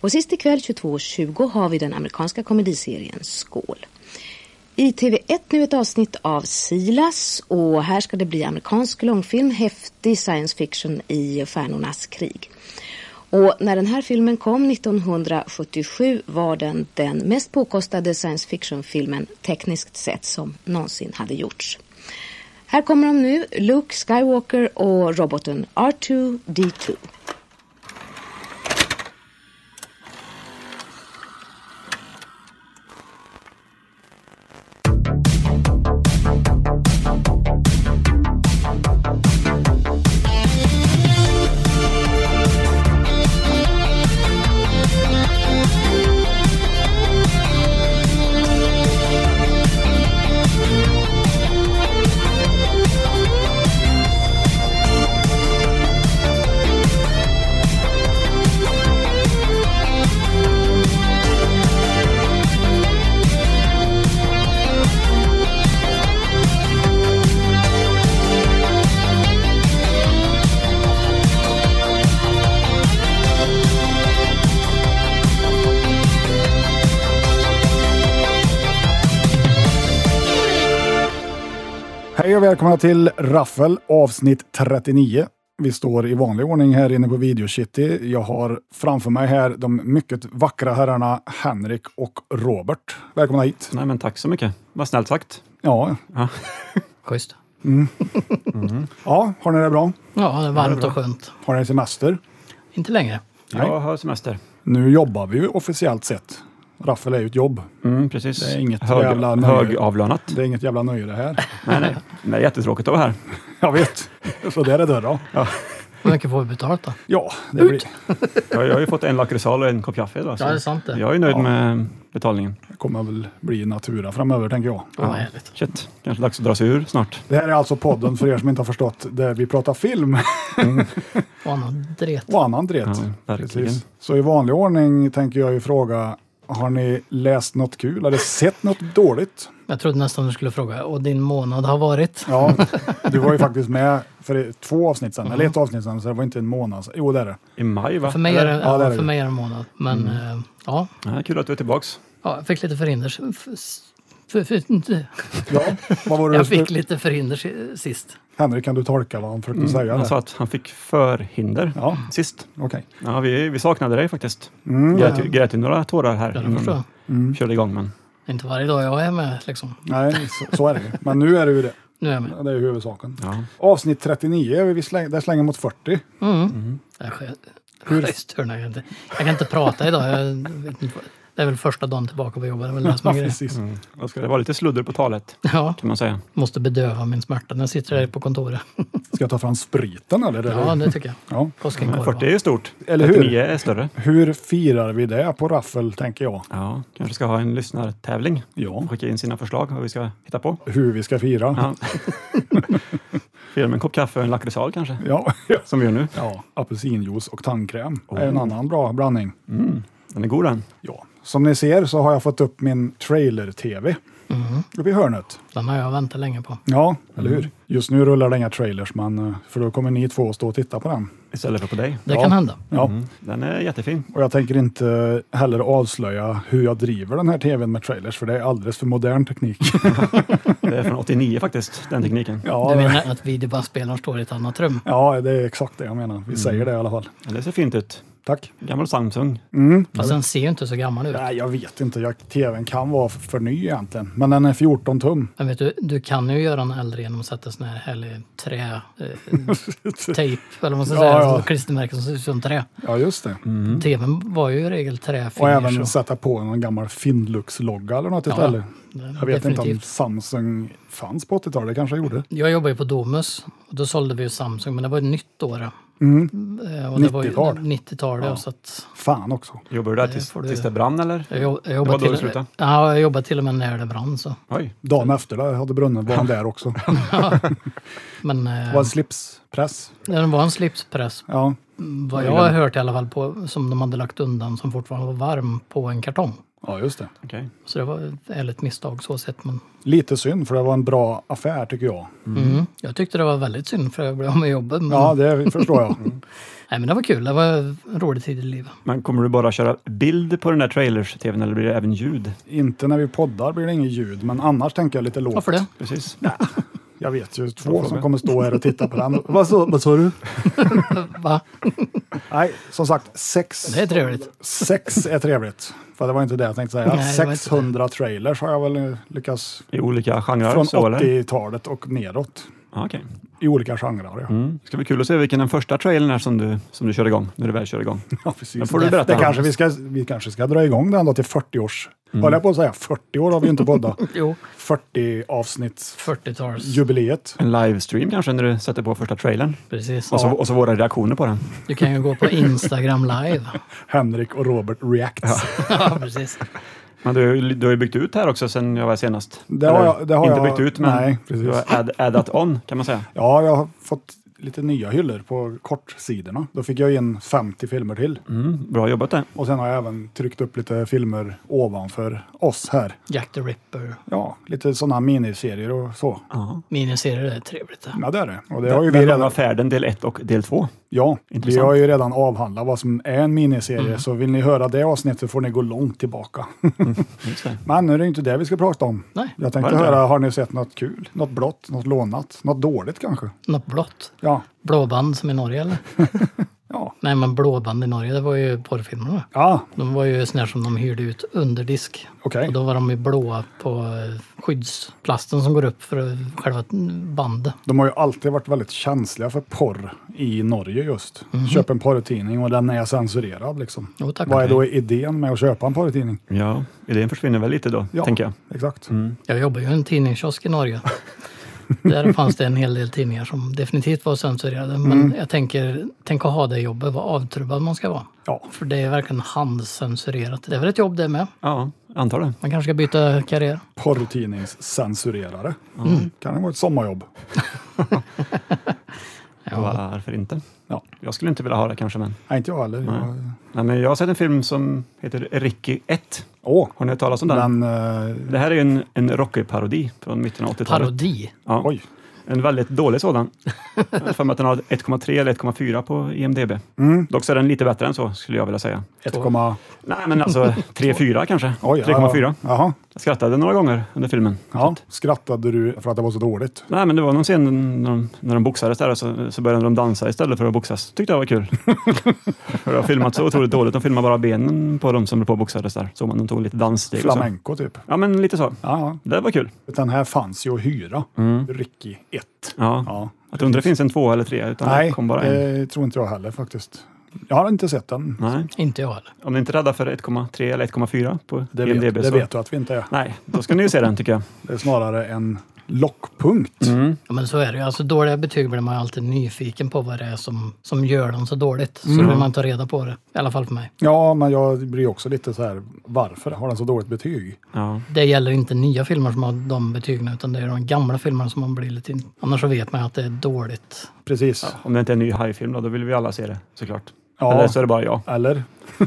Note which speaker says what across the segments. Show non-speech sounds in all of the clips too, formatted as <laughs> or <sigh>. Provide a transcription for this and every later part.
Speaker 1: Och sist ikväll 22.20 har vi den amerikanska komediserien Skål. I TV1 nu ett avsnitt av Silas och här ska det bli amerikansk långfilm, häftig science fiction i Stjärnornas krig. Och när den här filmen kom 1977 var den den mest påkostade science fiction-filmen tekniskt sett som någonsin hade gjorts. Här kommer de nu, Luke Skywalker och roboten R2-D2.
Speaker 2: Hej och välkomna till Raffel avsnitt 39. Vi står i vanlig ordning här inne på Video City. Jag har framför mig här de mycket vackra herrarna Henrik och Robert. Välkomna hit.
Speaker 3: Nej, men tack så mycket. Vad snällt sagt.
Speaker 2: Ja,
Speaker 4: Schysst.
Speaker 2: ja har ni det bra?
Speaker 4: Ja, det är varmt och skönt.
Speaker 2: Har ni semester?
Speaker 4: Inte längre.
Speaker 2: Nej.
Speaker 3: Jag har semester.
Speaker 2: Nu jobbar vi ju officiellt sett. Raffel är ju ett jobb.
Speaker 3: Mm, precis.
Speaker 2: Det är inget
Speaker 3: Hög,
Speaker 2: jävla nöje.
Speaker 3: högavlönat.
Speaker 2: Det är inget jävla nöje det här.
Speaker 3: Nej, nej. Det är jättetråkigt att vara här.
Speaker 2: Jag vet. Så där är det då.
Speaker 4: Hur mycket får vi betalt då?
Speaker 2: Ja, det blir,
Speaker 3: Jag, jag har ju fått en lakritsal och en kopp kaffe idag. så
Speaker 4: Ja, det är sant det.
Speaker 3: Jag är nöjd med betalningen.
Speaker 2: kommer väl bli natura framöver, tänker jag.
Speaker 4: Ja. Vad härligt.
Speaker 3: Shit, kanske dags att dra sig ur snart.
Speaker 2: Det här är alltså podden, för er som inte har förstått, där vi pratar film.
Speaker 4: Och annan dret.
Speaker 2: och annan dret.
Speaker 3: Ja, verkligen.
Speaker 2: Så i vanlig ordning tänker jag ju fråga, har ni läst något kul eller sett något dåligt?
Speaker 4: Jag trodde nästan du skulle fråga, och din månad har varit?
Speaker 2: Ja, du var ju faktiskt med för två avsnitt sedan, eller ett avsnitt sedan, så det var inte en månad sedan. Jo, det är det.
Speaker 3: I maj, va?
Speaker 4: För mig är det,
Speaker 2: Ja, det är
Speaker 4: ja,
Speaker 2: det.
Speaker 4: för mig är det en månad. Men eh, ja,
Speaker 3: Ja, kul att du är tillbaks.
Speaker 4: ja, jag fick lite förhinder. f- s- f- f-
Speaker 2: Ja, vad var det du
Speaker 4: Jag fick
Speaker 2: skulle...
Speaker 4: lite förhinder si- sist.
Speaker 2: Henrik, kan du tolka vad han försökte
Speaker 4: Mm,
Speaker 2: säga?
Speaker 3: Han
Speaker 2: där?
Speaker 3: sa att han fick förhinder
Speaker 2: Ja,
Speaker 3: sist.
Speaker 2: okej. Mm,
Speaker 3: Ja, vi, vi saknade dig faktiskt. grät, ju- grät ju några tårar här
Speaker 4: Ja, det förstår
Speaker 3: innan
Speaker 4: jag.
Speaker 3: vi körde igång. Men
Speaker 4: Det är inte varje dag jag är med liksom.
Speaker 2: Nej, så, så är det ju. Men nu är det ju det.
Speaker 4: Nu är jag med.
Speaker 2: Det är ju huvudsaken.
Speaker 3: ja,
Speaker 2: Avsnitt 39, vi släng, där slänger mot 40.
Speaker 4: Mm. Det är skö- <laughs> schysst, hörni. jag, kan inte, jag kan inte prata idag. Jag vet inte, vad- det är väl första dagen tillbaka på jobbet. Det är väl det som
Speaker 2: Ja,
Speaker 4: är grejen.
Speaker 2: precis.
Speaker 3: då Mm. ska det vara lite sludder på talet,
Speaker 4: Ja,
Speaker 3: kan man säga.
Speaker 4: måste bedöva min smärta när jag sitter här på kontoret.
Speaker 2: Ska jag ta fram spriten eller?
Speaker 4: Ja, det tycker jag.
Speaker 2: ja.
Speaker 3: Men
Speaker 4: Påskenkorv.
Speaker 3: 40 är ju stort.
Speaker 2: Eller hur?
Speaker 3: 39 är större.
Speaker 2: Hur firar vi det på raffel, tänker jag?
Speaker 3: Ja, kanske ska ha en lyssnartävling.
Speaker 2: Ja.
Speaker 3: Skicka in sina förslag vad vi ska hitta på.
Speaker 2: Hur vi ska fira. <laughs>
Speaker 3: Ja. Fira med en kopp kaffe och en lakritsal kanske,
Speaker 2: Ja, ja. Oh.
Speaker 3: som vi gör nu.
Speaker 2: ja, apelsinjuice och tandkräm är en annan bra blandning.
Speaker 3: Den är god den.
Speaker 2: Ja. Som ni ser så har jag fått upp min trailer-tv uppe i hörnet.
Speaker 4: Den har jag väntat länge på.
Speaker 2: Ja, eller hur? Just nu rullar det inga trailers, men eh, för då kommer ni två att stå och titta på den.
Speaker 3: Istället för på dig.
Speaker 4: Det
Speaker 2: Ja.
Speaker 4: kan hända.
Speaker 2: Ja,
Speaker 3: Den är jättefin.
Speaker 2: och jag tänker inte heller avslöja hur jag driver den här tvn med trailers, för det är alldeles för modern teknik.
Speaker 3: Det är från 89 faktiskt, den tekniken.
Speaker 2: <laughs> ja,
Speaker 4: Du
Speaker 2: det-
Speaker 4: menar att videobandspelaren står i ett annat rum?
Speaker 2: ja, det är exakt det jag menar. Vi säger det i alla fall.
Speaker 3: Ja, Det ser fint ut.
Speaker 2: Tack.
Speaker 3: Gammal Samsung.
Speaker 4: Fast den ser ju inte så gammal ut.
Speaker 2: Nej, jag vet inte. Jag, tvn kan vara f- för ny egentligen, men den är 14 tum.
Speaker 4: Men vet du, du kan ju göra den äldre genom att sätta sån här härlig trä... Eh,
Speaker 2: <laughs>
Speaker 4: tejp, eller vad man ska
Speaker 2: Ja,
Speaker 4: säga.
Speaker 2: ja.
Speaker 4: så Klistermärken som ser ut som trä.
Speaker 2: Ja, just det.
Speaker 4: TVn var ju i regel träfinish.
Speaker 2: Och även sätta på någon gammal Findlux-logga eller något istället. Jag vet inte om Samsung fanns på 80-talet, det kanske gjorde.
Speaker 4: Jag jobbade ju på Domus. Och då sålde vi ju Samsung, men det var ett nytt då. då.
Speaker 2: Mm.
Speaker 4: Eh, och det var ju
Speaker 2: 90-tal.
Speaker 4: 90-tal, ja. Så att
Speaker 2: Fan också.
Speaker 3: Jobbar du där
Speaker 4: Det
Speaker 3: tills,
Speaker 4: får du-
Speaker 3: tills det brann eller?
Speaker 4: jag, jobb- jag,
Speaker 3: Det var
Speaker 4: jobbade
Speaker 3: då du
Speaker 4: till,
Speaker 3: slutade?
Speaker 4: ja, jag jobbade till och med när det brann. Så.
Speaker 3: Oj.
Speaker 2: Dagen efter det hade brunnen var han där <laughs> också. Det
Speaker 4: Men eh,
Speaker 2: var en slipspress.
Speaker 4: det var en slipspress
Speaker 2: Ja,
Speaker 4: Vad jag har hört i alla fall på, som de hade lagt undan som fortfarande var varm på en kartong.
Speaker 2: ja just det.
Speaker 3: Okej.
Speaker 4: Så det var ett ärligt misstag så sett. Men,
Speaker 2: Lite synd, för det var en bra affär tycker jag.
Speaker 4: mm. Jag tyckte det var väldigt synd för jag blev av med jobbet.
Speaker 2: <laughs>
Speaker 4: Men,
Speaker 2: Ja, det förstår jag.
Speaker 4: Nej, men det var kul. Det var en rolig tid i livet.
Speaker 3: Men kommer du bara köra bild på den där trailers-tvn eller blir det även ljud?
Speaker 2: Inte när vi poddar blir det inget ljud, men annars tänker jag lite lågt.
Speaker 4: Varför det?
Speaker 3: Precis.
Speaker 2: Jag vet ju två
Speaker 3: fråga.
Speaker 2: som kommer stå här och titta på den. <laughs> Vad sa, vad sa du?
Speaker 4: Va?
Speaker 2: Nej, som sagt, sex,
Speaker 4: Det är trevligt.
Speaker 2: sex är trevligt. För det var inte det jag tänkte säga.
Speaker 4: Nej, det var inte
Speaker 2: 600 trailers har jag väl eh, lyckats
Speaker 3: I olika genrer?
Speaker 2: från
Speaker 3: så, eller?
Speaker 2: 80-talet och neråt.
Speaker 3: Ja, okej.
Speaker 2: I olika genrer. Ja.
Speaker 3: Mm. Det ska bli kul att se vilken den första trailern är som du, som du kör igång, när du väl kör igång.
Speaker 2: Ja, precis.
Speaker 3: Den får du
Speaker 2: det
Speaker 3: berätta om. Mm.
Speaker 2: kanske vi, ska, vi kanske ska dra igång den då till 40 års... Höll jag på att säga 40 år har vi ju inte
Speaker 3: <laughs>
Speaker 2: poddat.
Speaker 4: Jo,
Speaker 2: 40 avsnitt
Speaker 4: 40-tals.
Speaker 2: jubileet.
Speaker 3: En livestream kanske, när du sätter på första trailern.
Speaker 4: Precis.
Speaker 3: Och, så, och så våra reaktioner på den.
Speaker 4: Du kan ju gå på Instagram live. <laughs>
Speaker 2: Henrik och Robert reacts.
Speaker 4: Ja, precis.
Speaker 3: Men du, har ju- du har ju byggt ut här också sen jag var senast.
Speaker 2: Det har
Speaker 3: Eller,
Speaker 2: jag- det har
Speaker 3: inte
Speaker 2: jag-
Speaker 3: byggt ut, men
Speaker 2: nej, precis.
Speaker 3: du har add, addat on kan man säga.
Speaker 2: Ja, jag har fått lite nya hyllor på kortsidorna. Då fick jag in 50 filmer till.
Speaker 3: Mm, bra jobbat det.
Speaker 2: Och sen har jag även tryckt upp lite filmer ovanför oss här.
Speaker 4: Jack the Ripper.
Speaker 2: Ja, lite sådana miniserier och så.
Speaker 3: Ja.
Speaker 4: Miniserier det är trevligt. det.
Speaker 2: Ja, det är det. Och det har ju
Speaker 3: Den
Speaker 2: vi
Speaker 3: långa
Speaker 2: redan,
Speaker 3: färden del 1 och del 2.
Speaker 2: ja, vi
Speaker 3: Intressant.
Speaker 2: har ju redan avhandlat vad som är en miniserie, så vill ni höra det avsnittet får ni gå långt tillbaka. <laughs>
Speaker 3: Just det.
Speaker 2: Men nu är det inte det vi ska prata om.
Speaker 4: Nej,
Speaker 2: Jag tänkte
Speaker 3: Var det
Speaker 2: höra, har ni sett något kul? Något blått, något lånat, något dåligt kanske?
Speaker 4: något blått.
Speaker 2: Ja,
Speaker 4: Blåband som i Norge eller?
Speaker 2: ja,
Speaker 4: Nej, men blåband i Norge, det var ju porrfilmerna.
Speaker 2: ja
Speaker 4: De var ju sådana som de hyrde ut under disk.
Speaker 2: okej.
Speaker 4: Och då var de ju blåa på eh, skyddsplasten som går upp för eh, själva bandet.
Speaker 2: De har ju alltid varit väldigt känsliga för porr i Norge just. Köp en porrtidning och den är censurerad liksom.
Speaker 4: Jo, tack.
Speaker 2: Vad är då idén med att köpa en porrtidning?
Speaker 3: Ja, idén försvinner väl lite då,
Speaker 2: Ja.
Speaker 3: tänker jag.
Speaker 2: Exakt.
Speaker 4: Jag jobbar ju i en tidningskiosk
Speaker 2: <laughs>
Speaker 4: i Norge. Där fanns det en hel del tidningar som definitivt var censurerade. Men
Speaker 2: Mm.
Speaker 4: jag tänker, tänk att ha det jobbet, vad avtrubbad man ska vara.
Speaker 2: Ja.
Speaker 4: För det är verkligen handcensurerat. Det är väl ett jobb det med.
Speaker 3: Ja, antar det.
Speaker 4: Man kanske ska byta karriär.
Speaker 2: Porrtidningscensurerare.
Speaker 3: Mm.
Speaker 2: Kan det vara ett sommarjobb?
Speaker 3: Varför inte?
Speaker 2: Ja.
Speaker 3: Jag skulle inte vilja ha det kanske, men...
Speaker 2: Nej, inte jag heller. Jag-
Speaker 3: Nej, men jag har sett en film som heter Ricky 1.
Speaker 2: Åh,
Speaker 3: Har ni hört talas om den?
Speaker 2: den... eh,
Speaker 3: Det här är ju en, en Rocky-parodi från mitten av 80-talet.
Speaker 4: Parodi.
Speaker 3: Ja,
Speaker 2: oj.
Speaker 3: en väldigt
Speaker 2: <laughs>
Speaker 3: dålig sådan. Jag har för mig att den har 1,3 eller 1,4 på IMDB.
Speaker 2: Mm.
Speaker 3: Dock så är den lite bättre än så, skulle jag vilja säga.
Speaker 2: 1,4.
Speaker 3: Nej, men alltså
Speaker 2: <laughs>
Speaker 3: 3,4 kanske.
Speaker 2: Oj,
Speaker 3: 3,4.
Speaker 2: Ja, jaha.
Speaker 3: Jag skrattade några gånger under filmen.
Speaker 2: Ja. Skrattade du för att det var så dåligt?
Speaker 3: Nej, men det var någon scen när de, när de boxades där och så, så började de dansa istället för att boxas. Tyckte jag var
Speaker 2: <laughs>
Speaker 3: kul. för det har filmat så otroligt dåligt. De filmar bara benen på dem som höll på och boxades där. Så man, de tog lite danssteg och så.
Speaker 2: Flamenco typ.
Speaker 3: Ja, men lite så.
Speaker 2: Ja,
Speaker 3: Det var kul.
Speaker 2: ja. Den här fanns ju att hyra.
Speaker 3: Mm.
Speaker 2: Ricky 1.
Speaker 3: Ja.
Speaker 2: Ja.
Speaker 3: Att undra finns en två eller tre, utan det
Speaker 2: Nej,
Speaker 3: kom bara en.
Speaker 2: det tror inte jag heller faktiskt. Jag har inte sett den.
Speaker 3: Nej.
Speaker 4: Inte jag heller.
Speaker 3: Om ni inte är rädda för 1,3 eller 1,4 på
Speaker 2: Det
Speaker 3: IMDB
Speaker 2: vet, det
Speaker 3: så...
Speaker 2: vet du att vi inte är.
Speaker 3: Nej, då ska ni ju se den tycker jag.
Speaker 2: Det är snarare en lockpunkt.
Speaker 3: Mm.
Speaker 4: Ja, men så är det ju. Alltså, dåliga betyg blir man ju alltid nyfiken på vad det är som, som gör dem så dåligt. Så
Speaker 2: Mm.
Speaker 4: vill man ta reda på det. I alla fall för mig.
Speaker 2: Ja, men jag blir också lite så här, varför har den så dåligt betyg?
Speaker 3: Ja.
Speaker 4: Det gäller inte nya filmer som har de betygen utan det är de gamla filmerna som man blir lite... In... Annars så vet man ju att det är dåligt.
Speaker 2: Precis.
Speaker 3: Om det inte är en ny hajfilm då, då vill vi alla se det såklart.
Speaker 2: Ja.
Speaker 3: Eller så är det bara jag.
Speaker 2: Eller? <laughs>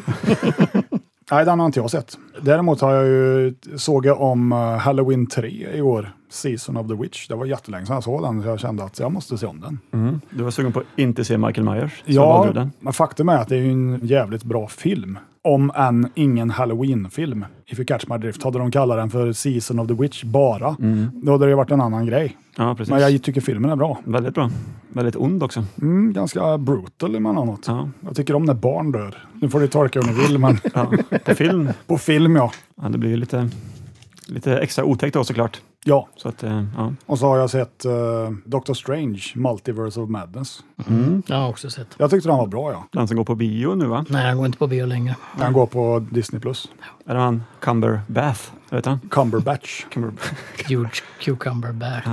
Speaker 2: Nej, den har inte jag sett. Däremot har jag ju, såg jag om eh, Halloween 3 i år, Season of the Witch. Det var jättelänge sedan jag såg den, så jag kände att jag måste se om den.
Speaker 3: Du var sugen på att inte se Michael Myers, Mm. så valde du
Speaker 2: Mm. Ja,
Speaker 3: den.
Speaker 2: men faktum är att det är ju en jävligt bra film. Om än ingen Halloween-film. If you catch my drift hade de kallat den för Season of the Witch bara.
Speaker 3: Mm.
Speaker 2: Då hade det ju varit en annan grej.
Speaker 3: Ja, precis.
Speaker 2: Men jag tycker filmen är bra.
Speaker 3: Väldigt bra. Väldigt ond också.
Speaker 2: Mm, ganska brutal emellanåt.
Speaker 3: Ja.
Speaker 2: Jag tycker om när barn dör. Nu får du tolka hur ni vill,
Speaker 3: <laughs>
Speaker 2: men
Speaker 3: Ja. På film,
Speaker 2: på film ja.
Speaker 3: ja, det blir ju lite, lite extra otäckt då såklart.
Speaker 2: Ja,
Speaker 3: Så att, eh, ja.
Speaker 2: och så har jag sett eh, Doctor Strange, Multiverse of Madness.
Speaker 4: Jag har också sett.
Speaker 2: Jag tyckte den var bra ja.
Speaker 3: Den som går på bio nu va?
Speaker 4: Nej, jag går inte på bio längre.
Speaker 2: Den
Speaker 3: Mm.
Speaker 2: går på Disney+. Plus.
Speaker 3: Är det han Cumberbatch? Vet han?
Speaker 2: Cumberbatch,
Speaker 3: Cumberbatch.
Speaker 4: Huge cucumber back.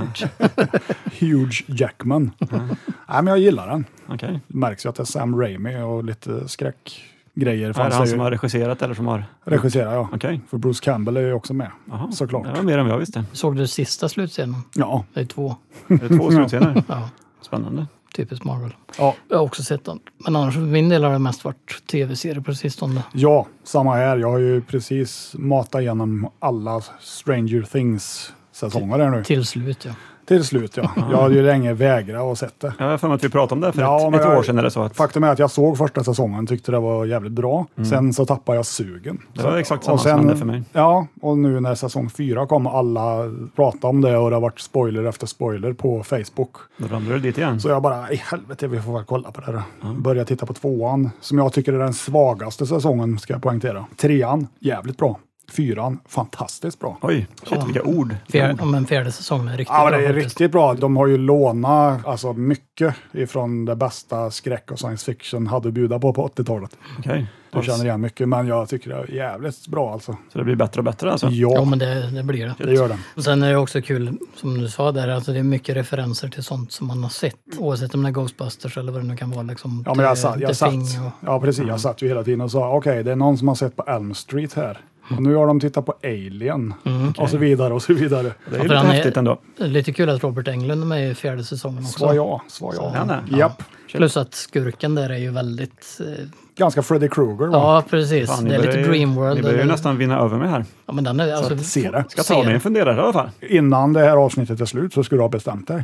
Speaker 2: Huge Jackman.
Speaker 3: Mm.
Speaker 2: Nej, men jag gillar den.
Speaker 3: <laughs> Okej.
Speaker 2: Det märks ju att det är Sam Raimi och lite skräckgrejer
Speaker 3: Är
Speaker 2: fanns
Speaker 3: det han
Speaker 2: det
Speaker 3: som
Speaker 2: ju.
Speaker 3: har regisserat eller som har...
Speaker 2: Regisserar ja.
Speaker 3: Okej.
Speaker 2: För Bruce Campbell är ju också med,
Speaker 3: Jaha.
Speaker 2: såklart.
Speaker 3: Det var mer än vad jag visste.
Speaker 4: Såg du sista slutscenen?
Speaker 2: Ja,
Speaker 4: Det är två.
Speaker 3: Är
Speaker 2: <laughs>
Speaker 3: det två slutscener?
Speaker 4: Ja,
Speaker 3: Spännande.
Speaker 4: typiskt Marvel.
Speaker 2: ja.
Speaker 4: Jag har också sett den. Men annars för min del har det mest varit tv-serier på sistone.
Speaker 2: Ja, samma här. Jag har ju precis matat igenom alla Stranger Things säsonger här nu.
Speaker 4: Till slut ja.
Speaker 2: Till slut ja. Jag hade ju länge vägrat och sett det.
Speaker 3: Jag har för mig att vi pratade om det för
Speaker 2: Ja,
Speaker 3: ett,
Speaker 2: men
Speaker 3: ett
Speaker 2: jag-
Speaker 3: år sedan eller så. Att
Speaker 2: Faktum är att jag såg första säsongen tyckte det var jävligt bra. Sen så tappade jag sugen.
Speaker 3: Mm. Det var
Speaker 2: Så-
Speaker 3: exakt samma
Speaker 2: och
Speaker 3: som hände för mig.
Speaker 2: Ja, och nu när säsong fyra kom alla pratade om det och det har varit spoiler efter spoiler på Facebook.
Speaker 3: då ramlade du dit igen.
Speaker 2: Så jag bara, i helvete vi får väl kolla på det här. Börja titta på tvåan, som jag tycker är den svagaste säsongen, ska jag poängtera. Trean, jävligt bra. Fyran, fantastiskt bra.
Speaker 3: Oj, shit vilka ord.
Speaker 4: Fjär, om en fjärde säsongen är riktigt
Speaker 2: Ja, men
Speaker 4: bra
Speaker 2: det är
Speaker 4: faktiskt.
Speaker 2: riktigt bra. De har ju lånat alltså, mycket ifrån det bästa skräck och science fiction hade att bjuda på på 80-talet.
Speaker 3: Okej.
Speaker 2: Du känner igen mycket, men jag tycker det är jävligt bra alltså.
Speaker 3: Så det blir bättre och bättre alltså?
Speaker 4: Ja,
Speaker 2: Ja,
Speaker 4: men det, det blir det.
Speaker 2: det gör den.
Speaker 4: Och sen är det också kul, som du sa där, alltså det är mycket referenser till sånt som man har sett. Oavsett om det är Ghostbusters eller vad det nu kan vara. Liksom,
Speaker 2: Mm. Ja, men jag
Speaker 4: The-
Speaker 2: satt,
Speaker 4: The
Speaker 2: jag satt,
Speaker 4: Thing och-
Speaker 2: ja, precis, jag satt ju hela tiden och sa okej, det är någon som har sett på Elm Street här. Och nu har de tittat på Alien
Speaker 4: Mm,
Speaker 2: och så vidare och så vidare.
Speaker 3: Det är
Speaker 4: Ja,
Speaker 3: ju
Speaker 4: för
Speaker 3: lite
Speaker 4: han är-
Speaker 3: häftigt ändå.
Speaker 4: Det är Lite kul att Robert Englund är med i fjärde säsongen också.
Speaker 2: Svar ja, svar
Speaker 4: Så-
Speaker 2: ja.
Speaker 3: Han är?
Speaker 2: Japp.
Speaker 4: Plus att skurken där är ju väldigt... eh,
Speaker 2: Ganska Freddy Krueger va?
Speaker 4: Ja, precis.
Speaker 3: Fan, ni
Speaker 4: det är lite
Speaker 3: börjar ju-
Speaker 4: Dreamworld.
Speaker 3: Ni börjar ju
Speaker 4: eller-
Speaker 3: nästan vinna över mig här.
Speaker 4: Ja, men den är, alltså,
Speaker 2: att se det.
Speaker 3: Ska ta mig en funderare i alla fall.
Speaker 2: Innan det här avsnittet är slut så skulle du ha bestämt dig.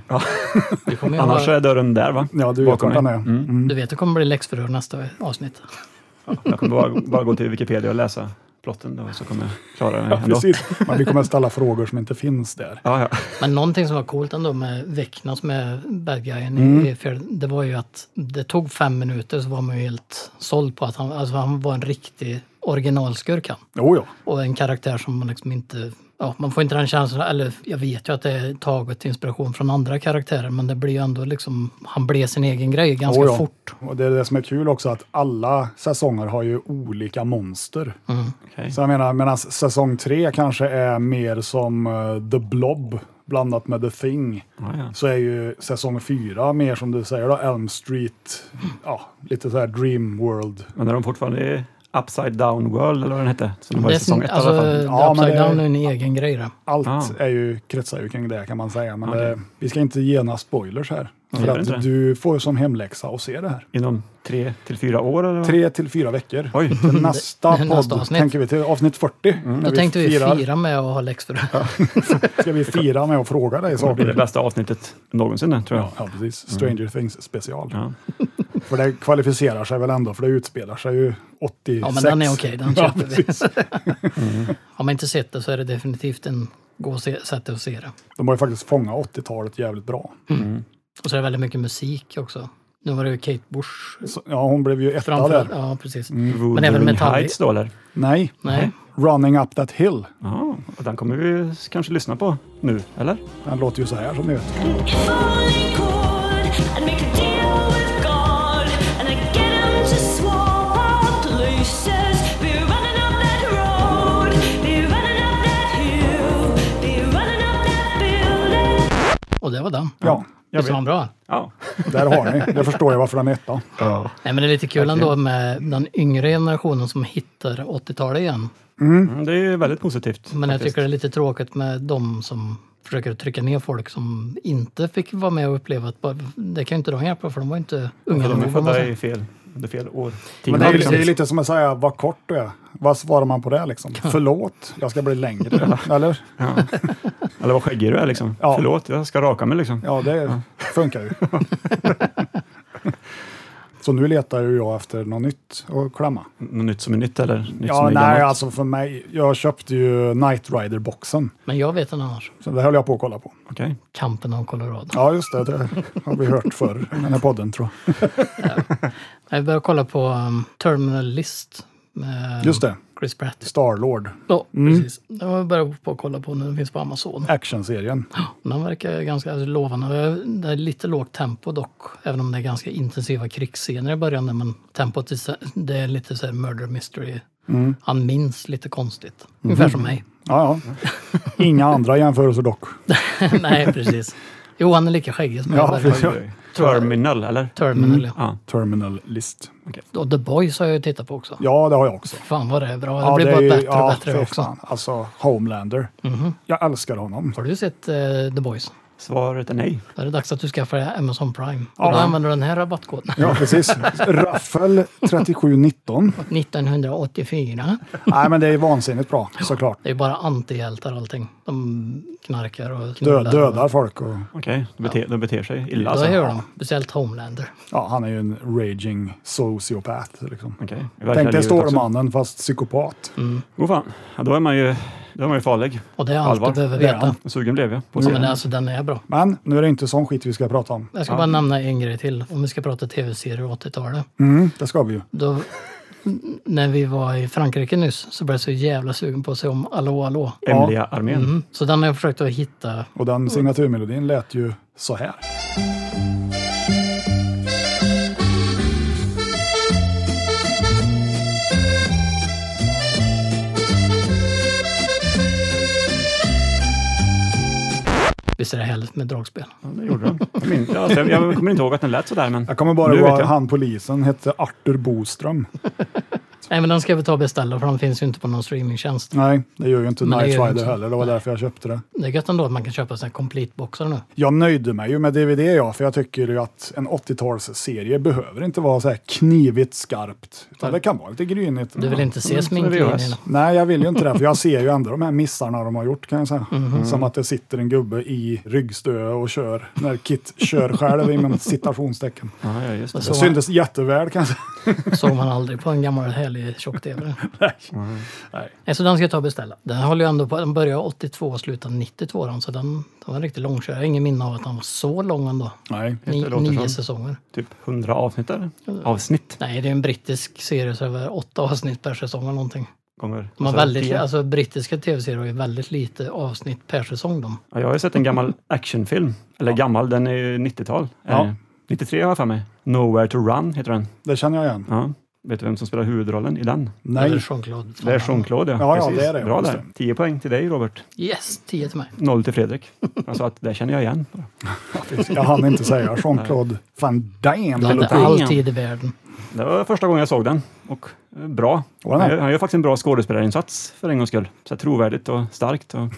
Speaker 4: Du, kommer ju ha,
Speaker 3: Annars är dörren där va?
Speaker 2: Ja, du vet
Speaker 3: Bakom
Speaker 2: vart den är.
Speaker 3: mig.
Speaker 2: Mm.
Speaker 4: du vet, det kommer bli läxförhör nästa avsnitt.
Speaker 3: Jag kommer bara, bara gå till Wikipedia och läsa plotten då, så kommer jag klara mig
Speaker 2: Ja,
Speaker 3: ändå.
Speaker 2: precis. Men vi kommer ställa frågor som inte finns där.
Speaker 3: Ja, ja.
Speaker 4: Men någonting som var coolt ändå med Vecna som är bad guyen i- i fjärde, det var ju att det tog fem minuter så var man ju helt såld på att han, alltså han var en riktig originalskurk han.
Speaker 2: Jo, ja.
Speaker 4: Och en karaktär som man liksom inte... Ja, man får inte den känslan, eller jag vet ju att det är taget inspiration från andra karaktärer men det blir ju ändå liksom, han blev sin egen grej ganska
Speaker 2: Jo, ja.
Speaker 4: fort.
Speaker 2: Och det är det som är kul också att alla säsonger har ju olika monster.
Speaker 4: Mm.
Speaker 3: Okej.
Speaker 2: Så jag menar, medan säsong tre kanske är mer som eh, The Blob blandat med The Thing.
Speaker 3: Ja, ja.
Speaker 2: Så är ju säsong fyra mer som du säger då, Elm Street, ja, lite så här Dream World.
Speaker 3: Men är de fortfarande i Upside Down World eller vad den hette? Som de var i
Speaker 4: Det är
Speaker 3: säsong
Speaker 4: sin,
Speaker 3: ett
Speaker 4: alltså,
Speaker 3: i alla fall.
Speaker 2: Ja,
Speaker 4: ja,
Speaker 2: men
Speaker 4: Upside
Speaker 2: det-
Speaker 4: Down är en egen grej där.
Speaker 2: Allt
Speaker 3: Ah.
Speaker 2: är ju, kretsar ju kring det kan man säga, men
Speaker 3: Okej.
Speaker 2: det, vi ska inte ge några spoilers här.
Speaker 3: gör
Speaker 2: För
Speaker 3: inte det.
Speaker 2: att du får ju som hemläxa att se det här.
Speaker 3: Inom tre till fyra år eller? vad?
Speaker 2: Tre till fyra veckor.
Speaker 3: Ah. Oj, Mm.
Speaker 2: Till nästa
Speaker 4: <laughs> Nästa
Speaker 2: podd
Speaker 4: avsnitt.
Speaker 2: tänker vi till avsnitt 40. när
Speaker 4: Då tänkte vi
Speaker 2: firar.
Speaker 4: fira med att ha
Speaker 2: <laughs>
Speaker 4: läxförhör.
Speaker 2: Ska vi fira med att fråga dig
Speaker 3: det blir det
Speaker 2: saker?
Speaker 3: bästa avsnittet någonsin det, tror jag.
Speaker 2: Ja, ja, precis. Stranger Things special.
Speaker 3: Ja.
Speaker 2: För det kvalificerar sig väl ändå, för det utspelar sig ju 86.
Speaker 4: Ja, men den är okej, den
Speaker 2: <laughs> Ja,
Speaker 4: köper vi. <laughs>
Speaker 2: precis.
Speaker 4: Har man inte sett det så är det definitivt en gå och se, sätt att se det.
Speaker 2: De har ju faktiskt fångat 80-talet jävligt bra.
Speaker 4: Och så är det väldigt mycket musik också. Nu var det ju Kate Bush
Speaker 2: Så, ja, hon blev ju etta
Speaker 4: framför.
Speaker 2: där.
Speaker 4: Ja, precis.
Speaker 3: Men
Speaker 4: även
Speaker 3: även
Speaker 4: Metallica-
Speaker 3: Mm. Heights då eller?
Speaker 2: Nej,
Speaker 4: Nej,
Speaker 2: Running Up That Hill.
Speaker 3: Ja, och den kommer vi kanske lyssna på nu, eller?
Speaker 2: Den låter ju så här som ni vet.
Speaker 5: Falling chord, I'd make a deal with God, and I'd get him to swap out the laces. Be running up that road, be running up that hill, be running up that building.
Speaker 4: och det var den.
Speaker 2: Ja,
Speaker 3: jag
Speaker 4: Visst var den bra?
Speaker 3: Ja.
Speaker 2: där har ni. Det förstår jag varför den är etta.
Speaker 4: Nej, men det är lite kul ändå med den yngre generationen som hittar 80-talet igen.
Speaker 3: Mm, Det är ju väldigt positivt.
Speaker 4: Men jag
Speaker 3: faktiskt.
Speaker 4: tycker det är lite tråkigt med de som försöker trycka ner folk som inte fick vara med och uppleva att bara- det kan ju inte de hjälpa för de var ju inte
Speaker 3: Ja, de
Speaker 4: unga
Speaker 3: är
Speaker 4: nog. om man
Speaker 3: födda
Speaker 4: säger.
Speaker 3: i fel, under fel år.
Speaker 2: Men det är, ju-
Speaker 3: Liksom.
Speaker 2: det är ju lite som att säga vad kort du är. Vad svarar man på det
Speaker 4: <laughs>
Speaker 2: liksom? Förlåt, jag ska bli längre. Eller?
Speaker 3: Eller vad skäggig du är liksom.
Speaker 2: Ja.
Speaker 3: Förlåt, jag ska raka mig liksom.
Speaker 2: Ja, det funkar
Speaker 4: <laughs>
Speaker 2: ju. Så nu letar ju jag efter något nytt att klämma.
Speaker 3: Något nytt som är nytt eller nytt som
Speaker 2: Ja,
Speaker 3: är
Speaker 2: nej,
Speaker 3: gammalt.
Speaker 2: alltså för mig. Jag köpte ju Knight Rider-boxen,
Speaker 4: Men jag vet en annars.
Speaker 2: så det höll jag på att kolla på.
Speaker 3: Okej.
Speaker 4: Kampen om Colorado.
Speaker 2: Ja, just det. Det har vi hört förr i den här podden, tror jag.
Speaker 4: Jag började kolla på um, Terminal List med
Speaker 2: Just det. Mm.
Speaker 4: Chris Pratt.
Speaker 2: Starlord,
Speaker 4: Ja, precis. Den har jag börjat på att kolla på nu. Den finns på Amazon.
Speaker 2: actionserien.
Speaker 4: Den verkar ganska lovande. Det är lite lågt tempo dock, även om det är ganska intensiva krigsscener i början. där, Men tempot är så- det är lite så här murder mystery.
Speaker 2: Mm.
Speaker 4: Han minns lite konstigt.
Speaker 2: Mhm.
Speaker 4: Ungefär som mig. <laughs>
Speaker 2: Ja, ja. Inga andra jämförelser dock.
Speaker 4: Nej, precis. Jo, han är lika skäggig som
Speaker 2: Ja,
Speaker 4: jag. verkar.
Speaker 2: precis. Mm.
Speaker 3: Oj, oj. Terminal eller?
Speaker 4: Terminal, ja.
Speaker 3: Ja.
Speaker 2: Terminal List.
Speaker 4: Och The Boys har jag ju tittat på också.
Speaker 2: Ja, det har jag också.
Speaker 4: Fan vad det är bra. Det
Speaker 2: Ja,
Speaker 4: blir bara
Speaker 2: är ju-
Speaker 4: bättre och
Speaker 2: ja,
Speaker 4: bättre
Speaker 2: fy
Speaker 4: också. Mhm.
Speaker 2: Fan. Alltså, Homelander. Jag älskar honom.
Speaker 4: Har du sett eh, The Boys?
Speaker 3: Svaret är nej.
Speaker 4: Då är det dags att du skaffar Amazon Prime.
Speaker 2: Ja.
Speaker 4: Och då använder du den här rabattkoden. <laughs>
Speaker 2: Ja, precis. Raffel 3719.
Speaker 4: 1984.
Speaker 2: Nej, men det är vansinnigt bra såklart.
Speaker 4: Det är bara antihjältar allting. De knarkar och knullar.
Speaker 2: Dö, dödar folk och
Speaker 3: Okej, de, beter, de beter sig illa
Speaker 4: Alltså,
Speaker 3: alltså.
Speaker 4: det gör de. Speciellt Homelander.
Speaker 2: ja, han är ju en raging sociopath. Liksom.
Speaker 3: Okej. i
Speaker 2: Tänk
Speaker 3: verkliga
Speaker 2: dig
Speaker 3: livet också.
Speaker 2: Stålmannen fast psykopat.
Speaker 4: Mm.
Speaker 3: Åh fan, ja, då är man ju, då är man ju farlig.
Speaker 4: Och det är allt
Speaker 3: Allvar.
Speaker 4: du behöver
Speaker 2: Det är han.
Speaker 4: veta.
Speaker 3: Sugen blev jag. På
Speaker 4: Ja, men
Speaker 3: serien.
Speaker 4: alltså, den är bra.
Speaker 2: Men nu är det inte sån skit vi ska prata om.
Speaker 4: Jag ska bara nämna en grej till. Om vi ska prata tv-serier och 80-talet.
Speaker 2: Mm, det ska vi ju.
Speaker 4: Då, n- när vi var i Frankrike nyss så blev jag så jävla sugen på att se om Allo Allo.
Speaker 3: Hemliga armén.
Speaker 4: Mm. Så den har jag försökt att hitta.
Speaker 2: Och den signaturmelodin lät ju så här.
Speaker 4: Visst är det härligt med dragspel?
Speaker 3: Ja, det gjorde de. Jag, min, ja, alltså, jag, jag kommer inte ihåg att den lät sådär, men
Speaker 2: Jag kommer bara
Speaker 3: nu
Speaker 2: ihåg
Speaker 3: vet
Speaker 2: att
Speaker 3: jag.
Speaker 2: han polisen hette Arthur Boström.
Speaker 4: Nej, men den ska vi ta och beställa för den finns ju inte på någon streamingtjänst.
Speaker 2: Nej, det gör ju inte
Speaker 4: Men det
Speaker 2: Night
Speaker 4: gör det
Speaker 2: Rider
Speaker 4: inte.
Speaker 2: heller. Det var därför jag köpte det.
Speaker 4: Det är gött ändå att man kan köpa såna här complete-boxar nu.
Speaker 2: Jag nöjde mig ju med DVD ja, för jag tycker ju att en 80-talsserie behöver inte vara så här knivigt skarpt. Utan det kan vara lite grynigt.
Speaker 4: Du vill inte se
Speaker 3: Mm,
Speaker 4: sminklinjerna.
Speaker 3: nervös.
Speaker 2: Nej, jag vill ju inte det, för jag ser ju ändå de här missarna de har gjort kan jag säga. Som att det sitter en gubbe i ryggstö och kör, när Kit kör själv inom citationstecken.
Speaker 3: Ja, ja, just det.
Speaker 2: Det syntes jätteväl kan jag säga.
Speaker 4: Såg man aldrig på en gammal härlig
Speaker 3: <laughs>
Speaker 4: tjock-tv.
Speaker 3: Mm.
Speaker 4: Nej, så den ska jag ta och beställa. Den håller ju ändå på, den börjar 82 och slutar 92 den, så den, den var en riktigt lång. Jag har ingen minne av att den var så lång ändå.
Speaker 2: Nej.
Speaker 4: Ni,
Speaker 3: Det låter
Speaker 4: nio
Speaker 3: som-
Speaker 4: säsonger.
Speaker 3: Typ 100 avsnitt där. Avsnitt.
Speaker 4: Nej, det är en brittisk serie så det är åtta avsnitt per säsong eller någonting.
Speaker 3: Kommer.
Speaker 4: De har
Speaker 3: alltså,
Speaker 4: väldigt,
Speaker 3: tio.
Speaker 4: alltså, brittiska tv-serier har ju väldigt lite avsnitt per säsong. De.
Speaker 3: Ja, jag har ju sett en gammal actionfilm. Eller gammal, den är ju 90-tal.
Speaker 2: Ja.
Speaker 3: Eh, 93 har jag för mig. Nowhere to run heter den.
Speaker 2: Det känner jag igen.
Speaker 3: Ja. Vet du vem som spelar huvudrollen i den?
Speaker 2: Nej.
Speaker 4: Eller Jean-Claude.
Speaker 3: Det är Jean-Claude.
Speaker 2: Ja, ja, det är det,
Speaker 3: Bra
Speaker 2: just
Speaker 3: där. 10 poäng till dig Robert.
Speaker 4: Yes, 10 till mig.
Speaker 3: Noll till
Speaker 4: <laughs>
Speaker 3: Fredrik. Han sa att det känner jag igen.
Speaker 2: Jag hann inte säga Jean-Claude Van Damme.
Speaker 4: Du
Speaker 2: eller-
Speaker 4: hade
Speaker 3: låter-
Speaker 4: all tid i världen.
Speaker 3: Det var första gången jag såg den. Och eh, bra.
Speaker 2: Och den
Speaker 3: Han
Speaker 2: här.
Speaker 3: gör, han gör faktiskt en bra skådespelarinsats för en gångs skull. Så här trovärdigt och starkt. Och, <laughs>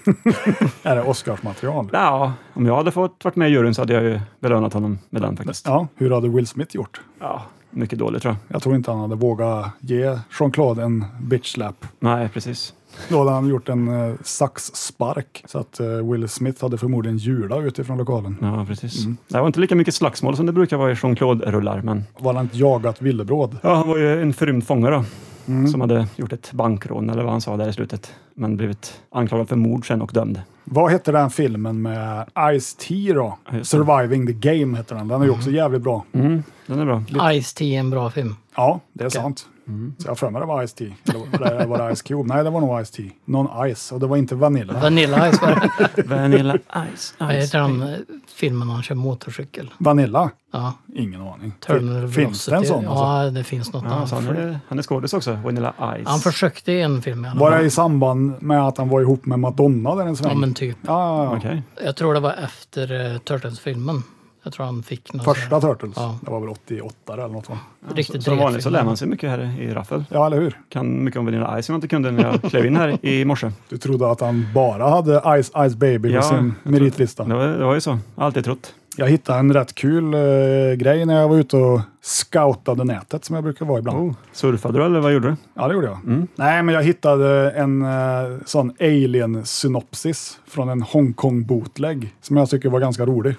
Speaker 2: Är det Oscarsmaterial?
Speaker 3: ja, om jag hade fått varit med i juryn så hade jag ju belönat honom med den faktiskt.
Speaker 2: Ja, hur hade Will Smith gjort?
Speaker 3: Ja, mycket dåligt tror jag.
Speaker 2: Jag tror inte han hade vågat ge Jean-Claude en bitch slap.
Speaker 3: Nej, precis.
Speaker 2: Då hade han gjort en eh, saxspark så att eh, Will Smith hade förmodligen jula utifrån lokalen.
Speaker 3: Ja, precis.
Speaker 2: Mm.
Speaker 3: Det var inte lika mycket slagsmål som det brukar vara i Jean-Claude-rullar, men
Speaker 2: Var han inte jagat villebråd?
Speaker 3: ja, han var ju en förrymd fånge då,
Speaker 2: Mm.
Speaker 3: som hade gjort ett bankrån eller vad han sa där i slutet, men blivit anklagad för mord sen och dömd.
Speaker 2: Vad hette den filmen med Ice-T då?
Speaker 3: Ja, just det.
Speaker 2: Surviving the Game heter den. Den är ju också jävligt bra.
Speaker 3: Mm, den är bra.
Speaker 4: Ice-T är en bra film.
Speaker 2: Ja, det är sant.
Speaker 3: Mm.
Speaker 2: Så jag har för mig det var Ice-T. Eller var det- var det Ice Cube? Nej, det var nog Ice-T. Någon Ice, och det var inte Vanilla.
Speaker 4: Vanilla Ice var
Speaker 3: <laughs>
Speaker 4: det.
Speaker 3: Vanilla Ice.
Speaker 4: Vad
Speaker 3: ice.
Speaker 4: heter den eh, filmen när han kör motorcykel?
Speaker 2: Vanilla?
Speaker 4: Ja,
Speaker 2: Ingen aning.
Speaker 4: Terminal
Speaker 2: Finns det en sån?
Speaker 4: Ja,
Speaker 2: Alltså?
Speaker 4: det finns något.
Speaker 3: Ja,
Speaker 4: han,
Speaker 3: så han är, han är skådis också, Vanilla Ice.
Speaker 4: han försökte i en film i alla
Speaker 2: Var det
Speaker 4: fall.
Speaker 2: i samband med att han var ihop med Madonna där en sväng?
Speaker 4: Ja, men typ.
Speaker 2: ja, ja, ja.
Speaker 3: Okej.
Speaker 4: Jag tror det var efter eh, Turtles-filmen. Jag tror han fick
Speaker 3: Alltså,
Speaker 4: någon
Speaker 2: Första
Speaker 4: sån
Speaker 2: Turtles.
Speaker 4: Ja.
Speaker 2: Det var väl 88 eller något va?
Speaker 4: här riktigt
Speaker 3: Som vanligt så
Speaker 4: dretfilm.
Speaker 3: lär man sig mycket här i Raffel.
Speaker 2: Ja, eller hur?
Speaker 3: Kan mycket om Vanilla Ice som jag inte kunde när jag <laughs> klev in här i morse.
Speaker 2: Du trodde att han bara hade Ice Ice Baby
Speaker 3: Ja,
Speaker 2: på sin
Speaker 3: jag
Speaker 2: meritlista.
Speaker 3: Det var, det var ju så. Alltid trott.
Speaker 2: Jag hittade en rätt kul eh, grej när jag var ute och scoutade nätet som jag brukar vara ibland.
Speaker 3: Oh. Surfade du eller vad gjorde du?
Speaker 2: Ja, det gjorde jag. Nej, men jag hittade en eh, sån alien-synopsis från en Hongkong-bootleg som jag tycker var ganska rolig.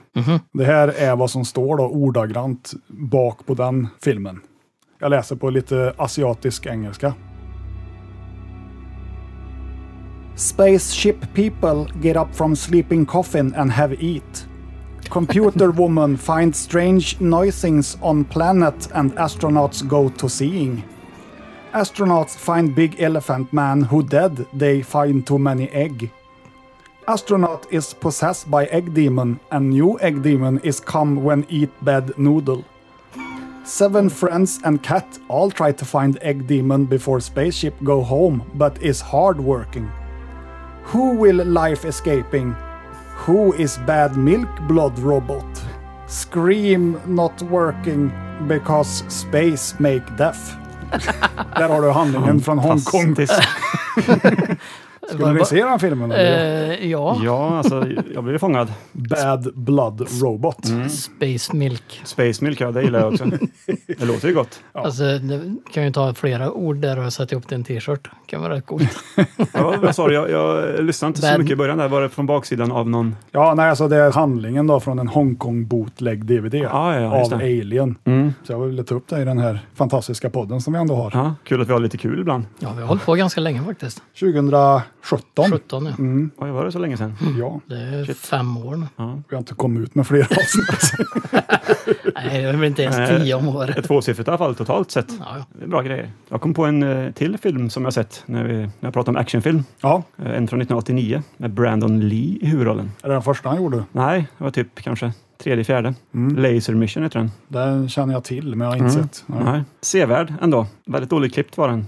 Speaker 2: Det här är vad som står då ordagrant bak på den filmen. Jag läser på lite asiatisk engelska. Spaceship people get up from sleeping coffin and have eat. Computer woman finds strange noisings on planet and astronauts go to seeing. Astronauts find big elephant man who dead they find too many egg. Astronaut is possessed by egg demon and new egg demon is come when eat bad noodle. Seven friends and cat all try to find egg demon before spaceship go home but is hard working. Who will life escaping? Who is bad milk blood robot? Scream not working because space
Speaker 3: <laughs>
Speaker 2: make death. Där har du handlingen från Hongkong.
Speaker 3: Fantastiskt.
Speaker 2: Skulle ni se den filmen? eller?
Speaker 4: Eh, ja.
Speaker 3: Ja, alltså jag blev fångad.
Speaker 2: Bad Blood Robot.
Speaker 4: Space Milk.
Speaker 3: Space Milk, ja, det gillar <laughs> jag också. Det låter ju gott.
Speaker 4: Alltså, det kan ju ta flera ord där och sätta ihop till en t-shirt. kan vara
Speaker 2: <laughs>
Speaker 4: rätt coolt.
Speaker 3: Ja, vad sa du? Jag, jag lyssnade inte så
Speaker 4: Bad-
Speaker 3: mycket i början där. Var det från baksidan av någon?
Speaker 2: Ja, nej, alltså det är handlingen då från en Hongkong bootleg DVD
Speaker 3: Ah, ja, ja, just
Speaker 2: av
Speaker 3: det.
Speaker 2: Alien. Så jag ville ta upp det i den här fantastiska podden som vi ändå har.
Speaker 3: Mm. Ja, kul att vi har lite kul ibland.
Speaker 4: Ja, vi har hållit på ganska länge faktiskt.
Speaker 2: 2017.
Speaker 4: 17 ja.
Speaker 2: Mm.
Speaker 3: Oj, var det så länge sedan?
Speaker 2: Ja,
Speaker 4: Det är fem
Speaker 2: <laughs>
Speaker 4: år nu.
Speaker 2: vi har inte kommit ut med fler avsnitt. <laughs>
Speaker 4: Nej, det blir inte ens tio om året.
Speaker 3: Ett tvåsiffrigt i alla fall totalt sett.
Speaker 4: Ja, ja.
Speaker 3: Det är bra grejer. Jag kom på en eh, till film som jag sett när, vi, när jag pratade om actionfilm.
Speaker 2: ja,
Speaker 3: Eh, En från 1989 med Brandon Lee i huvudrollen.
Speaker 2: är det den första han gjorde?
Speaker 3: Nej, det var typ kanske tredje, fjärde.
Speaker 2: Mm.
Speaker 3: Laser Mission heter den.
Speaker 2: Den känner jag till, men jag har inte sett. Nej.
Speaker 3: Mm. Nej. Sevärd ändå. Väldigt dåligt klippt
Speaker 2: <laughs>
Speaker 3: var den.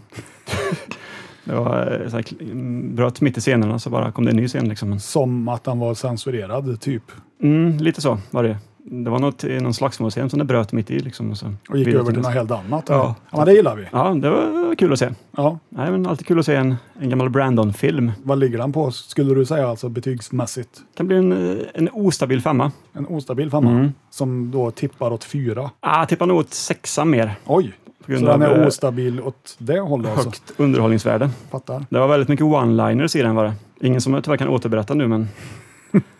Speaker 3: det var eh, så här, kli- mm, bröt mitt i scenerna så bara kom det en ny scen. Liksom. Men,
Speaker 2: Som att han var censurerad, typ.
Speaker 3: mm, lite så var det. Det var något, i någon slagsmålscen som det bröt mitt i. Liksom, och, så
Speaker 2: Och gick
Speaker 3: vidare
Speaker 2: över till
Speaker 3: nästa.
Speaker 2: något helt annat. Ja.
Speaker 3: Ja.
Speaker 2: men det gillar vi.
Speaker 3: Ja, det var kul att se.
Speaker 2: Ja.
Speaker 3: Nej, men alltid kul att se en, en gammal Brandon-film.
Speaker 2: Vad ligger den på, skulle du säga, alltså betygsmässigt?
Speaker 3: kan bli en, eh, en ostabil femma.
Speaker 2: En ostabil femma,
Speaker 3: Mm.
Speaker 2: som då tippar åt fyra.
Speaker 3: Ah, tippar nog åt sexa mer.
Speaker 2: Oj!
Speaker 3: grund
Speaker 2: Så den
Speaker 3: av,
Speaker 2: är
Speaker 3: eh,
Speaker 2: ostabil åt det hållet alltså?
Speaker 3: Högt underhållningsvärde.
Speaker 2: Fattar.
Speaker 3: Det var väldigt mycket one-liners i den var det. Ingen som jag tyvärr kan återberätta nu men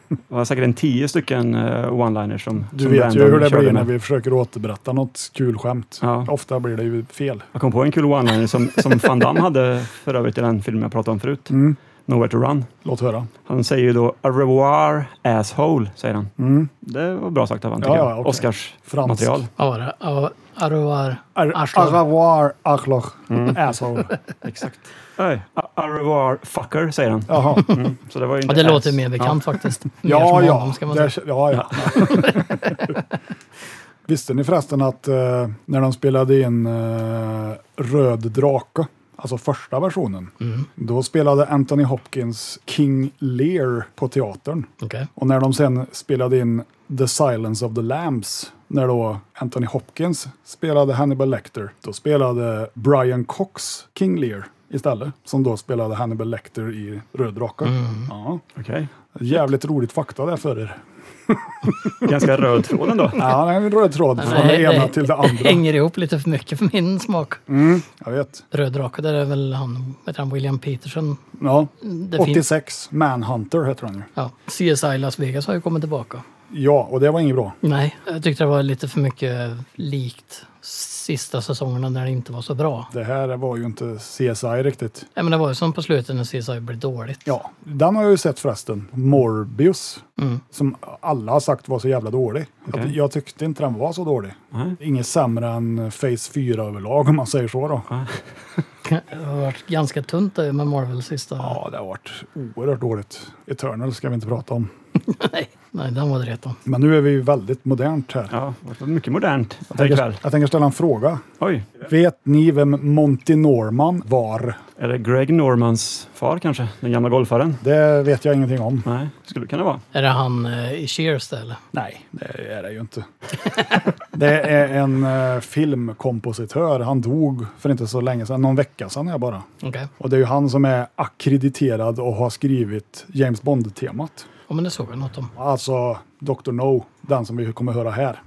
Speaker 3: det var säkert en tio stycken eh, one-liners som
Speaker 2: Du
Speaker 3: som
Speaker 2: vet ju
Speaker 3: Brandon
Speaker 2: hur det
Speaker 3: körde
Speaker 2: blir när
Speaker 3: med.
Speaker 2: vi försöker återberätta något kul skämt.
Speaker 3: Ja.
Speaker 2: Ofta blir det ju fel.
Speaker 3: Jag kom på en kul one-liner som, som Van Damme hade för övrigt i den filmen jag pratade om förut.
Speaker 2: Mm.
Speaker 3: Nowhere to run.
Speaker 2: Låt höra.
Speaker 3: Han säger ju då “A revoir asshole” säger han. Det var bra sagt av honom tycker
Speaker 2: Mm. Ja,
Speaker 3: jag.
Speaker 2: ja, okej.
Speaker 3: Oscars
Speaker 2: Fransk.
Speaker 3: material.
Speaker 4: Ja, var det. Ja, Aroar. Arslan.
Speaker 2: Aravar arschloch.
Speaker 3: Mm.
Speaker 4: <laughs>
Speaker 2: Asshole.
Speaker 3: Exakt. Nej, a, a revoir fucker säger han.
Speaker 2: Jaha.
Speaker 3: Så det var ju
Speaker 4: Ja,
Speaker 3: inte
Speaker 4: det
Speaker 3: ass.
Speaker 4: låter mer
Speaker 2: <laughs>
Speaker 4: bekant faktiskt. Mer
Speaker 2: Ja,
Speaker 4: som
Speaker 2: ja.
Speaker 4: honom, ska man
Speaker 2: Där,
Speaker 4: säga.
Speaker 2: ja,
Speaker 4: <laughs>
Speaker 2: ja. Visste ni förresten att eh, när de spelade in eh, Röd drake, alltså första versionen,
Speaker 4: Mm.
Speaker 2: då spelade Anthony Hopkins King Lear på teatern.
Speaker 4: Okej.
Speaker 2: Och när de sen spelade in The Silence of the Lambs, när då Anthony Hopkins spelade Hannibal Lecter, då spelade Brian Cox King Lear istället, som då spelade Hannibal Lecter i Röd drake. Ja.
Speaker 3: Okej.
Speaker 2: Jävligt roligt fakta där för er.
Speaker 3: Ganska röd tråd ändå.
Speaker 2: Ja, det är en röd tråd från det
Speaker 4: Nej,
Speaker 2: ena
Speaker 4: det
Speaker 2: till det
Speaker 4: <laughs>
Speaker 2: andra. Mm,
Speaker 4: Hänger ihop lite för mycket för min smak.
Speaker 2: Jag vet.
Speaker 4: Röd drake, där är väl han, vet han William Peterson.
Speaker 2: Ja.
Speaker 4: Det fin-
Speaker 2: 86, Manhunter heter han ju.
Speaker 4: Ja, CSI Las Vegas har ju kommit tillbaka.
Speaker 2: Ja, och det var inget bra.
Speaker 4: Nej, jag tyckte det var lite för mycket likt sista säsongerna när det inte var så bra.
Speaker 2: Det här var ju inte CSI riktigt.
Speaker 4: Nej, men det var ju som på slutet när CSI blev dåligt.
Speaker 2: Ja, den har jag ju sett förresten. Morbius, som alla har sagt var så jävla dålig. Jag,
Speaker 3: Okej.
Speaker 2: jag tyckte inte den var så dålig.
Speaker 3: Nej.
Speaker 2: Inget sämre än Phase 4 överlag om man säger så då.
Speaker 4: <laughs> Det har varit ganska tunt där med Marvel sista.
Speaker 2: Ja, det har varit oerhört dåligt. Eternal ska vi inte prata om.
Speaker 4: Nej, nej, den var det rätt om.
Speaker 2: Men nu är vi ju väldigt modernt här.
Speaker 3: Ja, det var mycket modernt
Speaker 2: Jag
Speaker 3: här
Speaker 2: tänker,
Speaker 3: ikväll.
Speaker 2: jag tänker ställa en fråga.
Speaker 3: Oj,
Speaker 2: Vet ni vem Monty Norman var?
Speaker 3: är det Greg Normans far kanske? Den gamla golfaren?
Speaker 2: Det vet jag ingenting om.
Speaker 3: Nej, skulle det kunna vara.
Speaker 4: Är det han eh, i Cheers där eller?
Speaker 2: Nej, det är det ju inte. <laughs> det är en eh, filmkompositör. Han dog för inte så länge sedan, någon vecka sedan är bara.
Speaker 4: Okej.
Speaker 2: Och det är ju han som är akkrediterad och har skrivit James Bond-temat.
Speaker 4: Ja, men det såg jag något om.
Speaker 2: Alltså Dr. No, den som vi kommer höra här.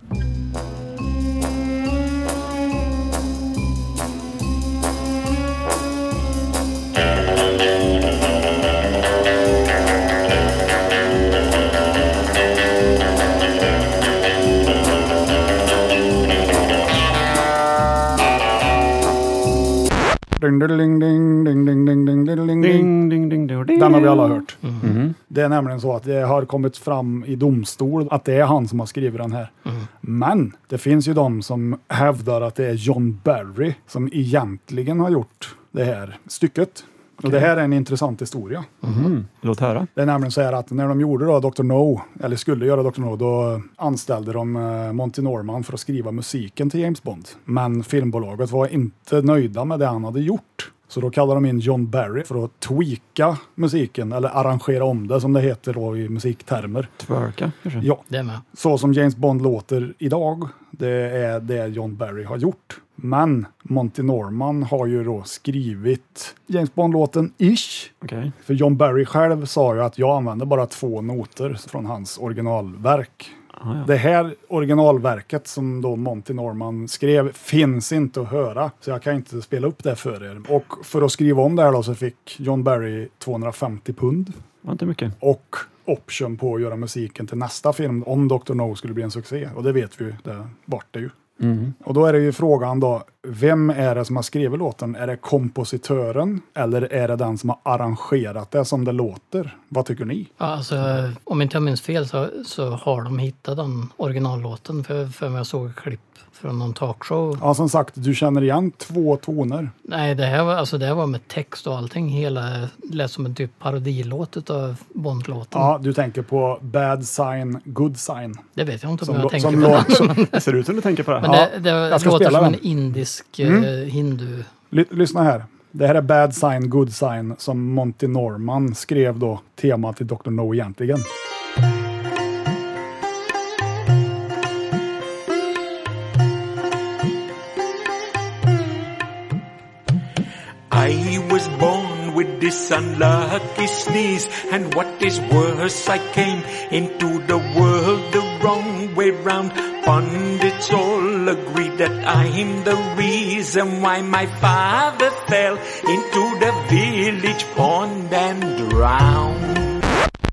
Speaker 2: Ding, ding, ding, ding, ding, ding, ding, ding, ding, ding.
Speaker 3: Ding, ding, ding, ding, ding.
Speaker 2: Den har vi alla hört. Mm. Det är nämligen så att det har kommit fram i domstol att det är han som har skrivit den här. Men det finns ju de som hävdar att det är John Barry som egentligen har gjort det här stycket. Och det här är en intressant historia.
Speaker 3: Mm-hmm. Låt höra.
Speaker 2: Det är nämligen så här att när de gjorde då Dr. No, eller skulle göra Dr. No, då anställde de eh, Monty Norman för att skriva musiken till James Bond. Men filmbolaget var inte nöjda med det han hade gjort. Så då kallar de in John Barry för att tweaka musiken, eller arrangera om det som det heter då i musiktermer.
Speaker 3: Twerka kanske?
Speaker 2: Ja,
Speaker 4: Det är med.
Speaker 2: så som James Bond låter idag, det är det John Barry har gjort. Men Monty Norman har ju då skrivit James Bond-låten Ish.
Speaker 3: Okej.
Speaker 2: För John Barry själv sa ju att jag använder bara två noter från hans originalverk.
Speaker 3: Ah, ja.
Speaker 2: Det här originalverket som då Monty Norman skrev finns inte att höra, så jag kan inte spela upp det för er. Och för att skriva om det här då så fick John Barry 250 pund
Speaker 3: var inte mycket.
Speaker 2: och option på att göra musiken till nästa film om Dr. No skulle bli en succé. Och det vet vi ju, det vart det ju.
Speaker 3: Mm.
Speaker 2: Och då är det ju frågan då, vem är det som har skrivit låten? Är det kompositören eller är det den som har arrangerat det som det låter? Vad tycker ni?
Speaker 4: Ja, alltså, om inte jag minns fel så, så har de hittat den originallåten för, för jag såg klipp från någon talkshow.
Speaker 2: Ja, som sagt, du känner igen två toner.
Speaker 4: Nej, det här, var, alltså, det här var med text och allting. Hela lät som en typ parodilåt utav Bondlåten.
Speaker 2: Ja, du tänker på Bad Sign, Good Sign.
Speaker 4: Det vet jag inte om
Speaker 2: Som,
Speaker 4: jag
Speaker 2: lå-
Speaker 4: tänker
Speaker 2: som,
Speaker 4: på.
Speaker 2: lå-
Speaker 4: det.
Speaker 2: som
Speaker 3: Det ser ut som du tänker på det.
Speaker 4: Men
Speaker 2: Ja,
Speaker 4: det, det
Speaker 2: jag ska
Speaker 4: låter
Speaker 2: spela
Speaker 4: som
Speaker 2: den. Mm.
Speaker 4: en indisk eh, hindu.
Speaker 2: Ly- Lyssna här. Det här är Bad Sign, Good Sign som Monty Norman skrev då tema till Dr. No egentligen.
Speaker 6: I was born with this unlucky sneeze, and what is worse, I came into the world the wrong way round. Pundits all agree that I'm the reason why my father fell into the village pond and drowned.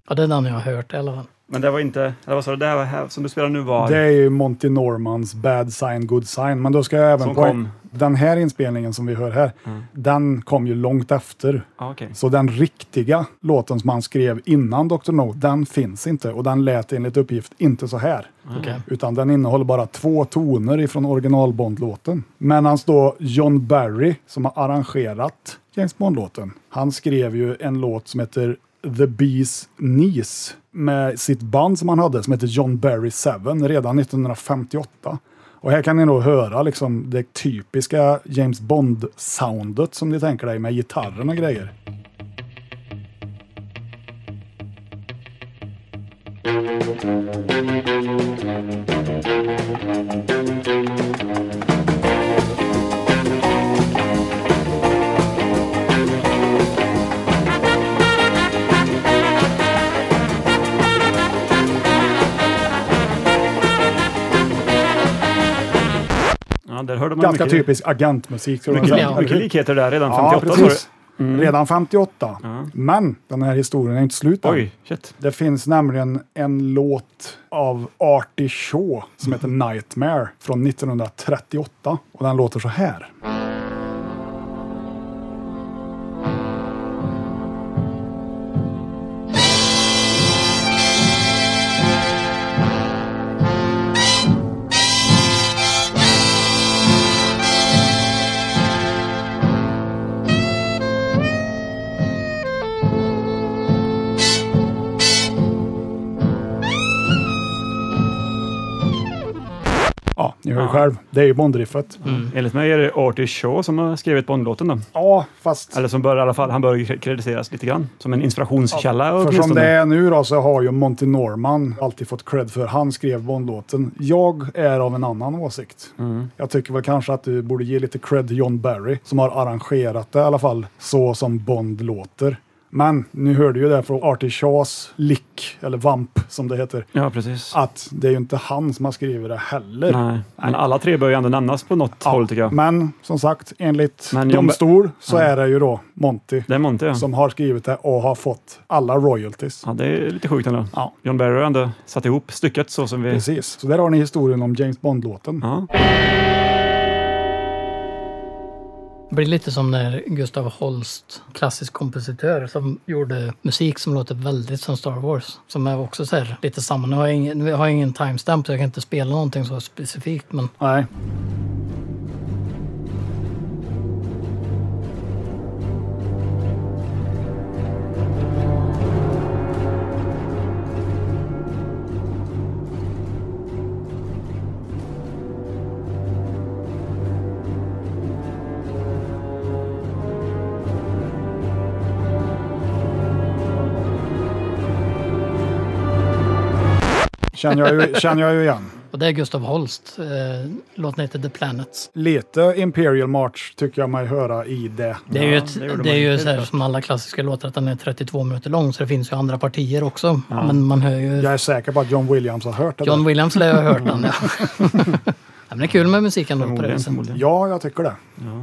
Speaker 4: Ja, det är den jag har hört i alla fall.
Speaker 3: Men det var inte, eller vad sa du, det här, var här som du spelar nu var...
Speaker 2: Det är ju Monty Normans Bad Sign Good Sign, men då ska jag även
Speaker 3: Som
Speaker 2: poäng-
Speaker 3: kom. Mm.
Speaker 2: Den här inspelningen som vi hör här, den kom ju långt efter.
Speaker 3: Ah, okej.
Speaker 2: Så den riktiga låten som han skrev innan Dr. No, den finns inte och den lät enligt uppgift inte så här.
Speaker 4: Okej.
Speaker 2: Utan den innehåller bara två toner ifrån original Bond-låten. Men hans då John Barry, som har arrangerat James Bond-låten, han skrev ju en låt som heter The Bees Knees med sitt band som han hade som heter John Barry Seven redan 1958. Och här kan ni då höra liksom det typiska James Bond-soundet som ni tänker dig med gitarren och grejer.
Speaker 3: Ja, där hörde man
Speaker 2: Ganska
Speaker 3: mycket,
Speaker 2: typisk agentmusik. skulle man
Speaker 3: Mycket,
Speaker 2: säga.
Speaker 4: Ja.
Speaker 3: mycket likheter där redan
Speaker 2: Ja,
Speaker 3: 58 ja,
Speaker 2: precis.
Speaker 3: Mm.
Speaker 2: Redan 58. Men den här historien är inte slut än.
Speaker 3: Oj, shit.
Speaker 2: Det finns nämligen en låt av Artie Shaw som heter
Speaker 3: Mm.
Speaker 2: Nightmare från 1938 och den låter så här. Ja, ni hör ju själv. Det är ju Bondriffet.
Speaker 3: Enligt mig är det Artie Shaw som har skrivit Bondlåten då.
Speaker 2: Ja, fast
Speaker 3: Eller som bör i alla fall, han bör ju krediteras lite grann. Som en inspirationskälla
Speaker 2: för som
Speaker 3: åtminstone.
Speaker 2: det är nu då så har ju Monty Norman alltid fått cred för. Han skrev Bondlåten. Jag är av en annan åsikt.
Speaker 3: Mm.
Speaker 2: Jag tycker väl kanske att du borde ge lite cred till John Barry som har arrangerat det i alla fall så som Bond låter. Men nu hörde ju det från Artie Shaws lick, eller vamp som det heter.
Speaker 3: Ja, precis.
Speaker 2: att det är ju inte han som har skrivit det heller.
Speaker 3: Nej. Men alla tre bör ju ändå nämnas på något håll tycker jag.
Speaker 2: Men som sagt, enligt
Speaker 3: Men John
Speaker 2: domstol så är det ju då Monty
Speaker 3: Det är Monty ja.
Speaker 2: som har skrivit det och har fått alla royalties.
Speaker 3: ja. Det är lite sjukt ändå.
Speaker 2: Ja.
Speaker 3: John Barry har ändå satt ihop stycket så som vi...
Speaker 2: Precis, så där har ni historien om James Bond-låten.
Speaker 3: Ja.
Speaker 4: Det blir lite som när Gustav Holst, klassisk kompositör, som gjorde musik som låter väldigt som Star Wars. Som är också så här, lite samma. Nu har jag ingen, nu har jag ingen timestamp så jag kan inte spela någonting så specifikt. Men
Speaker 2: Nej. Känner jag ju, känner jag ju igen.
Speaker 4: Och det är Gustav Holst. Eh, låten heter The Planets.
Speaker 2: Lite Imperial March tycker jag mig höra i det.
Speaker 4: Det är ju, ett,
Speaker 3: det gjorde
Speaker 4: det är
Speaker 3: man
Speaker 4: ju
Speaker 3: helt
Speaker 4: så här,
Speaker 3: klart.
Speaker 4: som alla klassiska låtar att den är 32 minuter lång så det finns ju andra partier också. Men man hör ju...
Speaker 2: Jag är säker på att John Williams har hört det.
Speaker 4: John
Speaker 2: där.
Speaker 4: Williams lär jag ha
Speaker 3: <laughs>
Speaker 4: hört den. Ja. Ja, men det är kul med musiken då på det
Speaker 3: Förmodligen,
Speaker 4: viset.
Speaker 3: förmodligen.
Speaker 2: Ja, jag tycker det.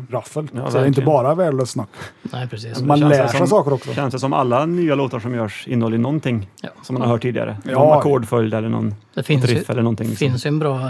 Speaker 2: Raffel. så det är
Speaker 3: verkligen.
Speaker 2: inte bara värdelöst snack.
Speaker 4: Nej, precis.
Speaker 2: Man
Speaker 3: Känns
Speaker 2: lär
Speaker 3: det
Speaker 2: sig
Speaker 3: som-
Speaker 2: saker också.
Speaker 3: Känns det som alla nya låtar som görs innehåller någonting
Speaker 4: Ja.
Speaker 3: som man har hört tidigare.
Speaker 2: Ja.
Speaker 3: Någon ackordföljd eller någon
Speaker 4: Det finns ju-
Speaker 3: riff eller någonting.
Speaker 4: Det
Speaker 3: Liksom.
Speaker 4: finns ju en bra... eh,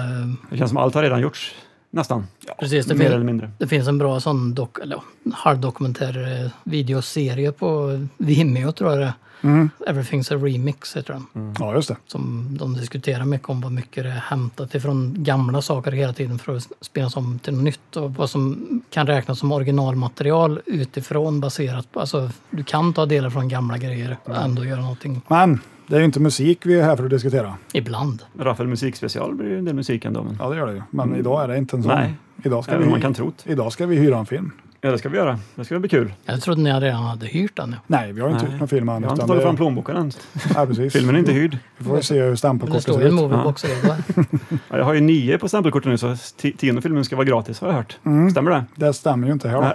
Speaker 3: Det känns som allt har redan gjorts, nästan.
Speaker 4: Precis, det,
Speaker 3: Mer
Speaker 4: fin-
Speaker 3: eller mindre.
Speaker 4: det finns en bra sån dok- eller, ja, halvdokumentär eh, videoserie på Vimeo tror jag det är.
Speaker 3: Mm.
Speaker 4: Everything's a remix heter den.
Speaker 2: Ja, just det.
Speaker 4: Som de diskuterar mycket om vad mycket det är hämtat ifrån gamla saker hela tiden för att spelas om till något nytt och vad som kan räknas som originalmaterial utifrån baserat på, alltså du kan ta delar från gamla grejer och
Speaker 3: Mm.
Speaker 4: ändå göra någonting
Speaker 2: Men det är ju inte musik vi är här för att diskutera.
Speaker 4: ibland.
Speaker 3: Raffel musikspecial blir ju en del musik ändå. Men...
Speaker 2: Ja, det gör det ju. Men idag är det inte en sån.
Speaker 3: Mm. Nej.
Speaker 2: Idag ska,
Speaker 3: Även
Speaker 2: vi,
Speaker 3: om man kan trot.
Speaker 2: idag ska vi hyra en film.
Speaker 3: Ja, det ska vi göra. Det ska bli kul.
Speaker 4: Jag trodde ni redan hade hyrt den. ja.
Speaker 2: Nej, vi har ju inte
Speaker 3: Nej.
Speaker 2: gjort någon film än.
Speaker 3: Jag har inte
Speaker 2: utan
Speaker 3: tagit
Speaker 2: det-
Speaker 3: fram plånboken än.
Speaker 2: Nej, precis.
Speaker 3: Filmen är inte hyrd.
Speaker 2: Vi får se hur
Speaker 4: Men det
Speaker 2: stämpelkortet
Speaker 4: står ju en
Speaker 2: ser ut.
Speaker 4: moviebox redo.
Speaker 3: <laughs> Ja, jag har ju nio på stämpelkortet nu, så ti- tionde filmen ska vara gratis har jag hört.
Speaker 2: Mm.
Speaker 3: Stämmer det?
Speaker 2: Det stämmer ju inte här. då.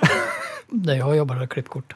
Speaker 4: Där jag jobbar är klippkort.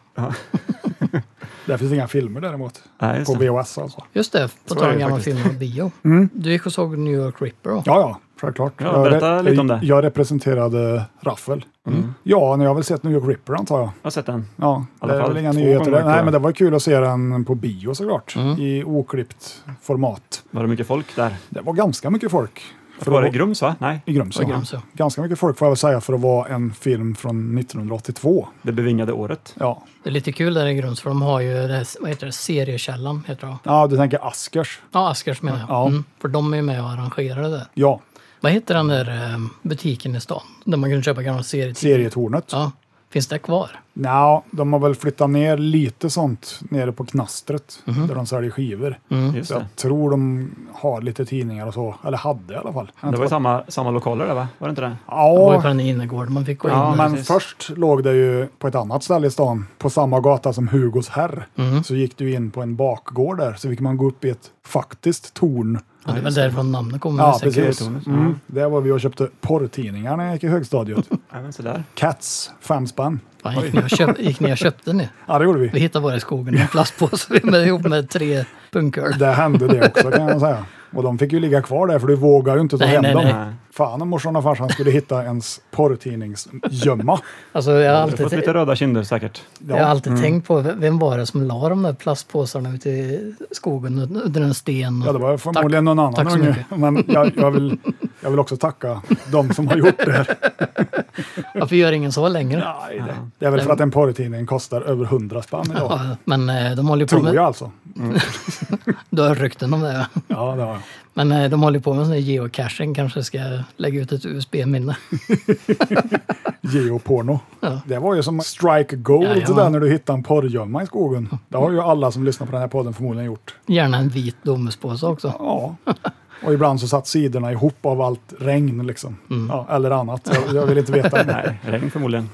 Speaker 2: Där finns inga filmer däremot.
Speaker 3: Nej, just
Speaker 2: På
Speaker 3: det.
Speaker 2: VHS alltså.
Speaker 4: Just det, på
Speaker 3: är
Speaker 4: tal om
Speaker 3: det
Speaker 4: gamla
Speaker 3: faktiskt. Mm.
Speaker 4: filmer och
Speaker 3: <laughs>
Speaker 4: bio. Du gick och såg New York Ripper då?
Speaker 2: Ja, ja, självklart.
Speaker 3: Ja, berätta
Speaker 2: jag, re-
Speaker 3: lite om det. Mm.
Speaker 2: Jag representerade Raffel. Mm. Ja, ni har väl sett New York Ripper antar jag?
Speaker 3: Jag har sett den.
Speaker 2: Ja,
Speaker 3: alla
Speaker 2: det är
Speaker 3: fall
Speaker 2: väl inga
Speaker 3: två
Speaker 2: nyheter
Speaker 3: gånger, Mm.
Speaker 2: där.
Speaker 3: tror
Speaker 2: Nej,
Speaker 3: jag.
Speaker 2: men det var kul att se den på bio såklart. I oklippt format.
Speaker 3: Var det mycket folk där?
Speaker 2: Det var ganska mycket folk. För
Speaker 3: Var
Speaker 2: att
Speaker 3: det
Speaker 2: vara-
Speaker 3: Grums va? Nej.
Speaker 2: I Grumsö.
Speaker 4: I Grumsö.
Speaker 2: Ganska mycket folk får jag väl säga för att vara en film från 1982.
Speaker 3: Det bevingade året.
Speaker 2: Ja,
Speaker 4: Det är lite kul där i Grums för de har ju det här, vad heter det, seriekällan heter det. va?
Speaker 2: ja du tänker Askers.
Speaker 4: Ja, Askers menar jag.
Speaker 2: Ja.
Speaker 4: Mm, för de är ju med och arrangerar det där.
Speaker 2: Ja,
Speaker 4: Vad heter den där eh, butiken i stan? Där man kunde köpa gamla serietidningar?
Speaker 2: Serietornet.
Speaker 4: Ja. Finns det kvar?
Speaker 2: Nja, de har väl flyttat ner lite sånt nere på Knastret
Speaker 3: Mhm.
Speaker 2: där de säljer skivor.
Speaker 3: Just
Speaker 2: Så jag
Speaker 3: det.
Speaker 2: tror de har lite tidningar och så, eller hade i alla fall.
Speaker 3: Det var ju samma, samma lokaler där va? Var det inte det?
Speaker 4: Det var ju på
Speaker 2: Ja,
Speaker 4: den innergården man fick gå in.
Speaker 3: Ja,
Speaker 4: där.
Speaker 2: men
Speaker 3: precis.
Speaker 2: först låg det ju på ett annat ställe i stan, på samma gata som Hugos herr. Så gick du in på en bakgård där, så fick man gå upp i ett faktiskt torn.
Speaker 4: Ja, det är väl därifrån namnet kommer.
Speaker 2: Ja,
Speaker 4: säkert.
Speaker 2: precis.
Speaker 3: tornet,
Speaker 2: Mm. Där var vi och köpte porrtidningar när jag gick i högstadiet.
Speaker 3: Nej, men sådär.
Speaker 2: Cats, fem spänn.
Speaker 4: Fan, gick, ni och köp, gick ni och köpte ni?
Speaker 2: Ja, det gjorde vi.
Speaker 4: Vi hittade våra i skogen i en plastpåse <laughs> med, ihop med tre punkar.
Speaker 2: Det hände det också kan jag säga. Och de fick ju ligga kvar där för du vågar ju inte ta
Speaker 4: Nej,
Speaker 2: hem
Speaker 4: nej,
Speaker 2: dem.
Speaker 4: nej.
Speaker 2: Fan om morsan och farsan skulle hitta ens porrtidningsgömma.
Speaker 4: Alltså, jag har
Speaker 3: Du har
Speaker 4: alltid,
Speaker 3: fått lite röda
Speaker 2: <laughs>
Speaker 3: kinder säkert.
Speaker 2: Ja. Mm.
Speaker 4: jag har alltid tänkt på v- vem var det som la de där plastpåsarna ute i skogen under en sten.
Speaker 2: Ja, det var förmodligen någon annan
Speaker 4: tack så
Speaker 2: unge.
Speaker 4: mycket.
Speaker 2: Men jag, jag, vill, jag vill också tacka de som har gjort det. <laughs> här.
Speaker 4: Varför gör ingen så längre?
Speaker 2: Nej, det, det är väl för att en porrtidning kostar över 100 spänn idag.
Speaker 4: Ja, men eh, de håller ju på
Speaker 2: Tror jag
Speaker 4: med...
Speaker 2: alltså.
Speaker 4: Du har rykten om det. ja.
Speaker 2: Ja, det har jag.
Speaker 4: Men eh, de håller ju på med sån här geocaching. Kanske ska lägga ut ett USB-minne.
Speaker 2: <laughs> Geoporno.
Speaker 4: Ja.
Speaker 2: Det var ju som strike gold
Speaker 4: Ja, ja.
Speaker 2: det där när du hittade en porrgömma i skogen. Det har ju alla som lyssnar på den här podden förmodligen gjort.
Speaker 4: Gärna en vit Domuspåse också.
Speaker 2: Ja, och ibland så satt sidorna ihop av allt regn liksom.
Speaker 4: Mm.
Speaker 2: Ja, eller annat. Jag, jag vill inte veta.
Speaker 3: Nej, regn förmodligen.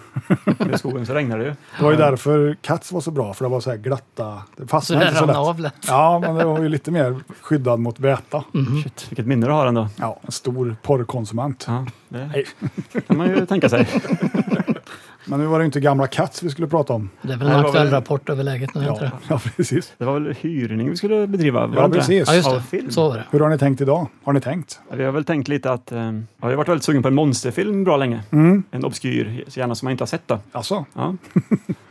Speaker 3: I skogen så regnar det ju.
Speaker 2: Det var ju därför Cats var så bra, för det var så här glatta. Det
Speaker 4: Så
Speaker 2: fastnade
Speaker 4: det
Speaker 2: inte så
Speaker 4: rann
Speaker 2: lätt.
Speaker 4: av lätt.
Speaker 2: Ja, men det var ju lite mer skyddad mot väta.
Speaker 4: Mm.
Speaker 3: Shit, vilket minne du har ändå.
Speaker 2: Ja, en stor porrkonsument.
Speaker 3: Ja, det
Speaker 2: Nej.
Speaker 3: kan man ju tänka sig.
Speaker 2: Men nu var det ju inte gamla Cats vi skulle prata om.
Speaker 4: Det är väl
Speaker 3: Nej,
Speaker 4: en
Speaker 3: det var
Speaker 4: aktuell
Speaker 3: väl-
Speaker 4: rapport över läget nu. Ja,
Speaker 2: Ja,
Speaker 4: det?
Speaker 2: <laughs> ja precis.
Speaker 3: Det var väl hyrning vi skulle bedriva? var
Speaker 2: Ja,
Speaker 3: det inte det?
Speaker 2: precis.
Speaker 4: ja just
Speaker 3: Ja,
Speaker 4: det.
Speaker 3: film.
Speaker 4: Så var det.
Speaker 2: Hur har ni tänkt idag? Har ni tänkt?
Speaker 3: Ja, Vi har väl tänkt lite att eh, jag har varit väldigt sugen på en monsterfilm bra länge.
Speaker 2: Mm.
Speaker 3: En obskyr, så gärna som man inte har sett då.
Speaker 2: Alltså,
Speaker 3: Ja.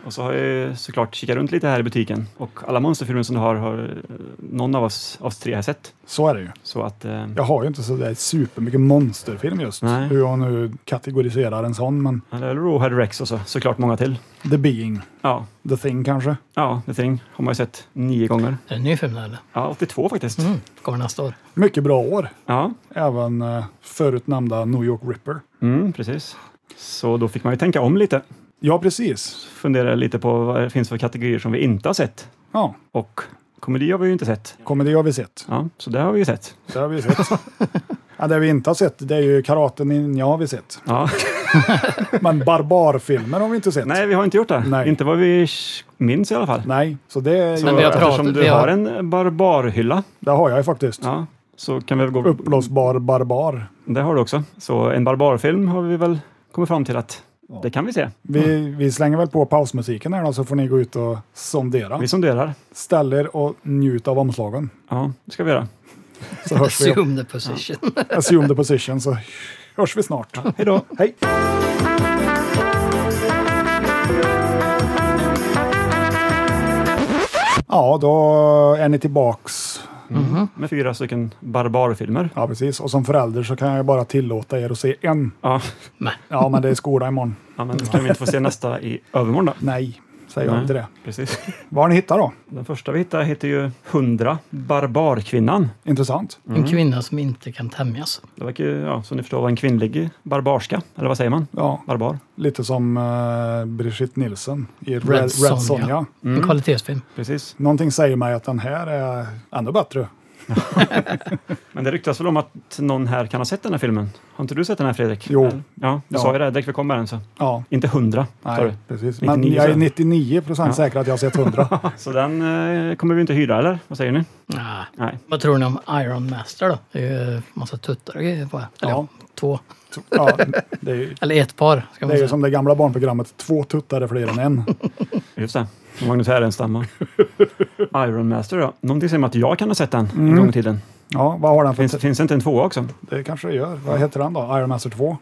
Speaker 3: Och så har jag såklart kikat runt lite här i butiken och alla monsterfilmer som du har, har eh, någon av oss, av oss tre har sett.
Speaker 2: så är det ju.
Speaker 3: Så att eh,
Speaker 2: Jag har ju inte så där supermycket monsterfilm just.
Speaker 3: Nej.
Speaker 2: Hur jag nu kategoriserar en sån, men
Speaker 3: ja. det är Rawhead Rex och så, såklart många till.
Speaker 2: The Being,
Speaker 3: Ja,
Speaker 2: The Thing kanske?
Speaker 3: ja The Thing har man ju sett nio gånger.
Speaker 4: Är det en ny film där, eller?
Speaker 3: Ja, 82 faktiskt.
Speaker 4: Mm.
Speaker 2: Mm.
Speaker 4: Kommer nästa år.
Speaker 2: Mycket bra år.
Speaker 3: Ja,
Speaker 2: Även eh, förut nämnda New York Ripper.
Speaker 3: mm, precis. Så då fick man ju tänka om lite.
Speaker 2: Ja, precis.
Speaker 3: Fundera lite på vad det finns för kategorier som vi inte har sett.
Speaker 2: Ja,
Speaker 3: Och komedi har vi ju inte sett.
Speaker 2: komedi har vi sett.
Speaker 3: Ja, så det har vi ju sett.
Speaker 2: Det har vi sett. ja, det vi inte har sett, det är ju Karate Ninja har vi sett.
Speaker 4: <laughs>
Speaker 3: Ja.
Speaker 2: Men barbarfilmer har vi inte sett.
Speaker 3: Nej, vi har inte gjort det.
Speaker 2: Nej.
Speaker 3: Inte vad vi minns i alla fall.
Speaker 2: Nej, så det,
Speaker 3: Så
Speaker 4: Men vi har pratat-
Speaker 3: eftersom du
Speaker 4: vi har-
Speaker 3: har en barbarhylla.
Speaker 2: det har jag ju faktiskt.
Speaker 3: Ja. Så kan vi väl gå...
Speaker 2: Uppblåsbar barbar.
Speaker 3: Det har du också. Så en barbarfilm har vi väl kommit fram till att det kan vi se.
Speaker 2: Vi,
Speaker 3: Mm.
Speaker 2: vi slänger väl på pausmusiken här då, så får ni gå ut och sondera.
Speaker 3: Vi sonderar.
Speaker 2: Ställ er och njut av omslagen.
Speaker 3: Ja, det ska vi göra.
Speaker 2: Så hörs vi.
Speaker 4: Assume the position.
Speaker 2: Assume the position, så hörs vi snart.
Speaker 3: Hej då!
Speaker 2: Hej! Ja, då är ni tillbaks.
Speaker 3: Med fyra stycken barbarfilmer.
Speaker 2: Ja, precis. Och som förälder så kan jag bara tillåta er att se en.
Speaker 3: Ja,
Speaker 4: Nej.
Speaker 2: Ja, men det är skola imorgon.
Speaker 3: ja men kan vi inte få se nästa i övermorgon då?
Speaker 2: Nej, säger jag
Speaker 3: Nej.
Speaker 2: inte det.
Speaker 3: Precis.
Speaker 2: Vad har ni hittat då?
Speaker 3: Den första vi hittade heter ju 100 Barbarkvinnan.
Speaker 2: Intressant.
Speaker 4: <laughs> En kvinna som inte kan tämjas.
Speaker 3: Det verkar ju, ja, som ni förstår, vara en kvinnlig barbarska. Eller vad säger man?
Speaker 2: Ja,
Speaker 3: Barbar.
Speaker 2: lite som eh, Brigitte Nielsen i Red,
Speaker 4: Red
Speaker 2: Red Sonja.
Speaker 4: Sonja.
Speaker 2: Mm.
Speaker 4: En kvalitetsfilm.
Speaker 3: Precis.
Speaker 2: Någonting säger mig att den här är ännu bättre.
Speaker 3: Men det ryktas väl om att någon här kan ha sett den här filmen? Har inte du sett den här Fredrik?
Speaker 2: Jo.
Speaker 3: Eller? Ja, du
Speaker 2: Ja.
Speaker 3: sa ju det direkt vi kom med den. Så.
Speaker 2: Ja,
Speaker 3: Inte 100, sa du.
Speaker 2: nej, precis. Men
Speaker 3: 99
Speaker 2: jag är
Speaker 3: så.
Speaker 2: 99 procent säker att jag har sett 100.
Speaker 3: Så den eh, kommer vi inte hyra, eller? Vad säger ni?
Speaker 4: Nej.
Speaker 3: Nej.
Speaker 4: Vad tror ni om Iron Master då? Det är ju massa tuttar och grejer på. Eller
Speaker 2: Ja.
Speaker 4: ja. två.
Speaker 2: ja, det är ju
Speaker 4: Eller ett par ska
Speaker 2: det
Speaker 4: man
Speaker 2: är ju
Speaker 4: säga.
Speaker 2: som det gamla barnprogrammet, två tuttar är fler än en.
Speaker 3: Just det. Magnus
Speaker 2: <laughs>
Speaker 3: Härenstam och Iron Master, ja. Någonting säger mig att jag kan ha sett den
Speaker 2: Mm.
Speaker 3: en gång i tiden.
Speaker 2: Ja, vad har den för...
Speaker 3: Finns, finns det inte en tvåa också?
Speaker 2: Det kanske det gör. Vad heter den då? Iron Master 2?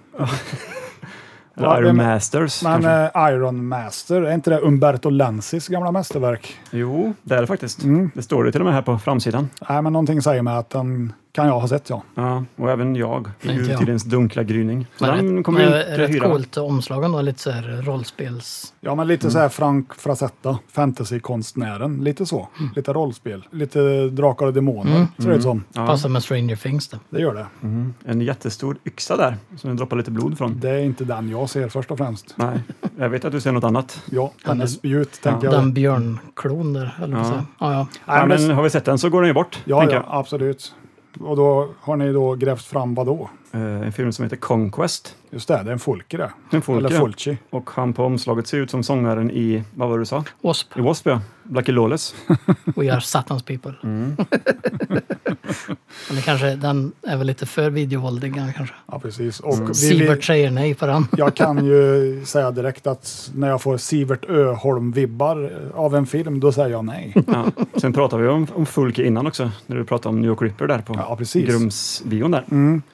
Speaker 3: Eller
Speaker 2: Ja,
Speaker 3: Iron
Speaker 2: men-
Speaker 3: Masters?
Speaker 2: Men
Speaker 3: kanske?
Speaker 2: eh, Iron Master, är inte det Umberto Lenzis gamla mästerverk?
Speaker 3: Jo, det är det faktiskt.
Speaker 2: Mm.
Speaker 3: Det står det till och med här på framsidan.
Speaker 2: Nej, men någonting säger mig att den kan jag ha sett, ja.
Speaker 3: Ja, och även jag. I
Speaker 4: Inte jag.
Speaker 3: urtidens dunkla gryning. Så
Speaker 4: Men
Speaker 3: den
Speaker 4: rätt-
Speaker 3: kommer vi
Speaker 4: men
Speaker 3: inte
Speaker 4: Rätt
Speaker 3: hyra.
Speaker 4: coolt omslagen då, lite så här rollspels...
Speaker 2: Ja, men lite så
Speaker 3: Mm.
Speaker 2: här Frank Frazetta, fantasykonstnären. Lite så.
Speaker 3: Mm.
Speaker 2: Lite rollspel. Lite drakar och demoner, ser det ut som.
Speaker 4: Passar med Stranger Things det.
Speaker 2: Det gör det.
Speaker 3: Mm. En jättestor yxa där som det droppar lite blod från.
Speaker 2: Det är inte den jag ser först och främst.
Speaker 3: Nej, jag vet att du ser något annat.
Speaker 2: Ja, den är spjut, tänker
Speaker 4: Den
Speaker 2: jag.
Speaker 4: björnklon där, höll jag på att säga. Ja, ja.
Speaker 2: Nej,
Speaker 3: Ja,
Speaker 2: men
Speaker 3: men
Speaker 2: det-
Speaker 3: har vi sett den så går den ju bort,
Speaker 2: Ja,
Speaker 3: tänker
Speaker 2: ja,
Speaker 3: jag.
Speaker 2: absolut. Och då har ni då grävt fram vad då?
Speaker 3: Eh, En film som heter Conquest.
Speaker 2: Just det, det är en Fulke det.
Speaker 3: En folke.
Speaker 2: Eller Fulci.
Speaker 3: Och han på omslaget ser ut som sångaren i, vad var det du sa?
Speaker 4: Wasp,
Speaker 3: I Wasp ja, Blackie Lawless.
Speaker 4: We Are Satans People. <laughs> Men det kanske, den är väl lite för videovåldig kanske.
Speaker 2: Ja, precis. Och
Speaker 3: Mm.
Speaker 2: vi, vi,
Speaker 4: Sivert säger nej på den.
Speaker 2: Jag kan ju säga direkt att när jag får Sivert Öholm-vibbar av en film, då säger jag nej.
Speaker 3: Ja. <laughs> Sen pratade vi om, om Fulke innan också, när du pratade om New York Ripper där på
Speaker 2: Ja, precis.
Speaker 3: Grumsbion där.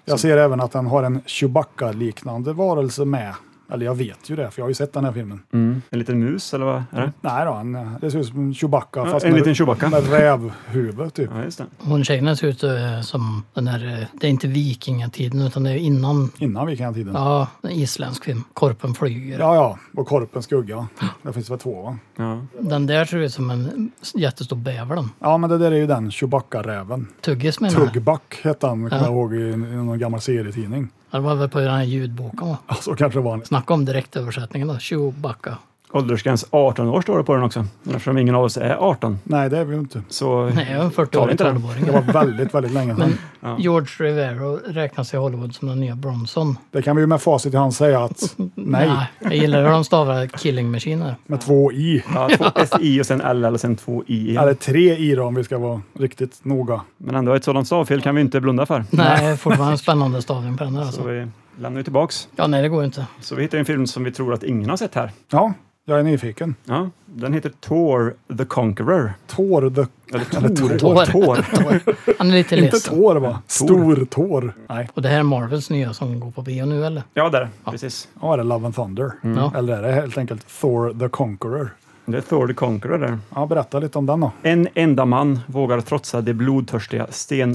Speaker 2: Jag ser även att den har en Chewbacca-liknande varelse med. Eller jag vet ju det, för jag har ju sett den här filmen.
Speaker 3: Mm. En liten mus eller vad är det?
Speaker 2: Nej då, en, det ser ut som en Chewbacca,
Speaker 3: Ja,
Speaker 2: fast
Speaker 3: en
Speaker 2: med,
Speaker 3: liten Chewbacca.
Speaker 2: med rävhuvud typ.
Speaker 3: Ja, just det.
Speaker 4: Hon tjejen ser ut eh, som den här, eh, det är inte vikingatiden utan det är innan,
Speaker 2: Innan vikingatiden. Ja.
Speaker 4: ja, en isländsk film. Korpen flyger.
Speaker 2: ja, ja, och Korpens skugga. Det finns väl två va?
Speaker 3: Ja.
Speaker 4: Den där ser ut som en jättestor bäver den.
Speaker 2: Ja, men det där är ju den Chewbacca-räven.
Speaker 4: Tuggis menar jag.
Speaker 2: Tuggback hette han, kommer jag ihåg, i, i någon gammal serietidning.
Speaker 4: Ja, Det var väl på den här ljudboken va?
Speaker 2: Så kanske det var en
Speaker 4: Snacka om direktöversättningen då, Chewbacca.
Speaker 3: Åldersgräns 18 år står det på den också. Men Eftersom ingen av oss är 18
Speaker 2: Nej, det är vi ju inte.
Speaker 3: så
Speaker 4: Nej, jag är en 40-årig
Speaker 3: inte den.
Speaker 4: 12-åring.
Speaker 2: Det var väldigt, väldigt länge sedan.
Speaker 4: George Rivero räknas i Hollywood som den nya Bronson.
Speaker 2: Det kan vi ju med facit i hand säga att nej,
Speaker 4: jag gillar hur de stavar Killing Machine här.
Speaker 2: med två i.
Speaker 3: Ja, två SI och sen L eller sen två I.
Speaker 2: Eller tre i då om vi ska vara riktigt noga.
Speaker 3: Men ändå, ett sådant stavfel kan vi inte blunda för.
Speaker 4: Nej, fortfarande en spännande stavning på den här
Speaker 3: Så
Speaker 4: alltså.
Speaker 3: vi lämnar ju tillbaks.
Speaker 4: Ja, nej det går ju inte.
Speaker 3: Så vi hittar en film som vi tror att ingen har sett här.
Speaker 2: Ja, jag är nyfiken.
Speaker 3: Ja, den heter Tor the Conqueror.
Speaker 2: Tår the...
Speaker 3: Eller Tor.
Speaker 4: Tor.
Speaker 3: Tor.
Speaker 4: Han är
Speaker 2: <laughs>
Speaker 4: lite
Speaker 2: Inte
Speaker 4: ledsen.
Speaker 2: tår va? Stor tår. Nej,
Speaker 4: Och det här är Marvels nya som går på bio nu eller?
Speaker 3: Ja, där. Precis.
Speaker 2: ja, är det Love and Thunder?
Speaker 4: Ja.
Speaker 2: Eller är det helt enkelt Thor the Conqueror?
Speaker 3: Det är Thor the Conqueror där.
Speaker 2: Ja, berätta lite om den då.
Speaker 3: En enda man vågar trotsa de blodtörstiga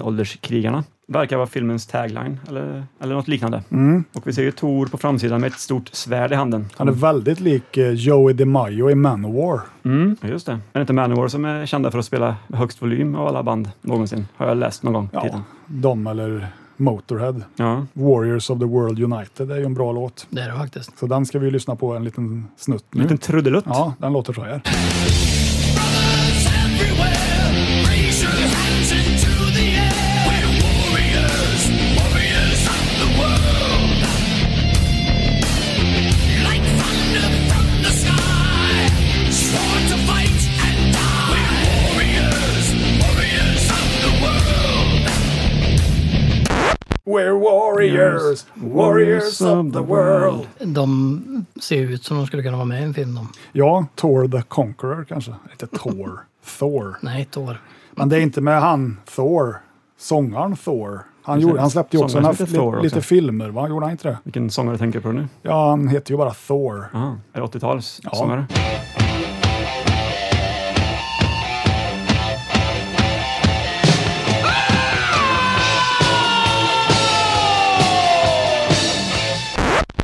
Speaker 3: stenålderskrigarna. Verkar vara filmens tagline eller, eller något liknande.
Speaker 2: Mm.
Speaker 3: Och vi ser ju Tor på framsidan med ett stort svärd i handen.
Speaker 2: Han är väldigt lik eh, Joey DeMaio i Manowar.
Speaker 3: Mm, just det. Är det inte Manowar som är kända för att spela högst volym av alla band någonsin? Har jag läst någon gång. i tiden.
Speaker 2: Ja, Mm. de eller Motorhead.
Speaker 3: ja.
Speaker 2: Warriors of the World United är ju en bra låt.
Speaker 4: Det är det faktiskt.
Speaker 2: Så den ska vi ju lyssna på en liten snutt nu.
Speaker 3: En liten trudelutt.
Speaker 2: Ja, den låter så här.
Speaker 7: Brothers everywhere, raise your hands into the air. We're warriors, warriors of the world. Like thunder from the sky, sworn to fight and die. We're warriors, warriors of the world.
Speaker 2: We're warriors, warriors of the world.
Speaker 4: De ser ju ut som de skulle kunna vara med i en film. De.
Speaker 2: Ja, Thor the Conqueror kanske. Inte Thor, <laughs> Thor.
Speaker 4: Nej, Thor.
Speaker 2: Men det är inte med han Thor, sångaren Thor. Han,
Speaker 3: Precis.
Speaker 2: gjorde, han släppte ju också
Speaker 3: Sångaren
Speaker 2: några,
Speaker 3: heter Thor
Speaker 2: lite,
Speaker 3: också.
Speaker 2: lite filmer, va? Gjorde han inte det?
Speaker 3: Vilken sångare tänker du på nu?
Speaker 2: Ja, han heter ju bara Thor.
Speaker 3: Aha, är det 80-tals sångare?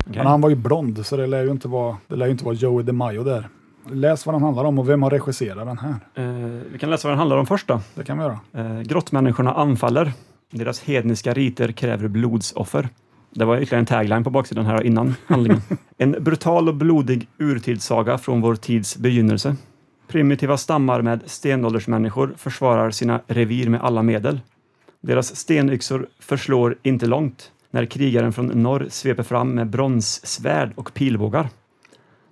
Speaker 2: Men han var ju blond, så det lär ju inte vara, det lär ju inte vara Joey DeMaio där. Läs vad den handlar om och vem har regisserat den här?
Speaker 3: Eh, vi kan läsa vad den handlar om först då.
Speaker 2: Det kan vi göra.
Speaker 3: Eh, grottmänniskorna anfaller. Deras hedniska riter kräver blodsoffer. Det var ytterligare en tagline på baksidan här innan handlingen. En brutal och blodig urtidssaga från vår tids begynnelse. Primitiva stammar med stenåldersmänniskor försvarar sina revir med alla medel. Deras stenyxor förslår inte långt när krigaren från norr sveper fram med bronssvärd och pilbågar.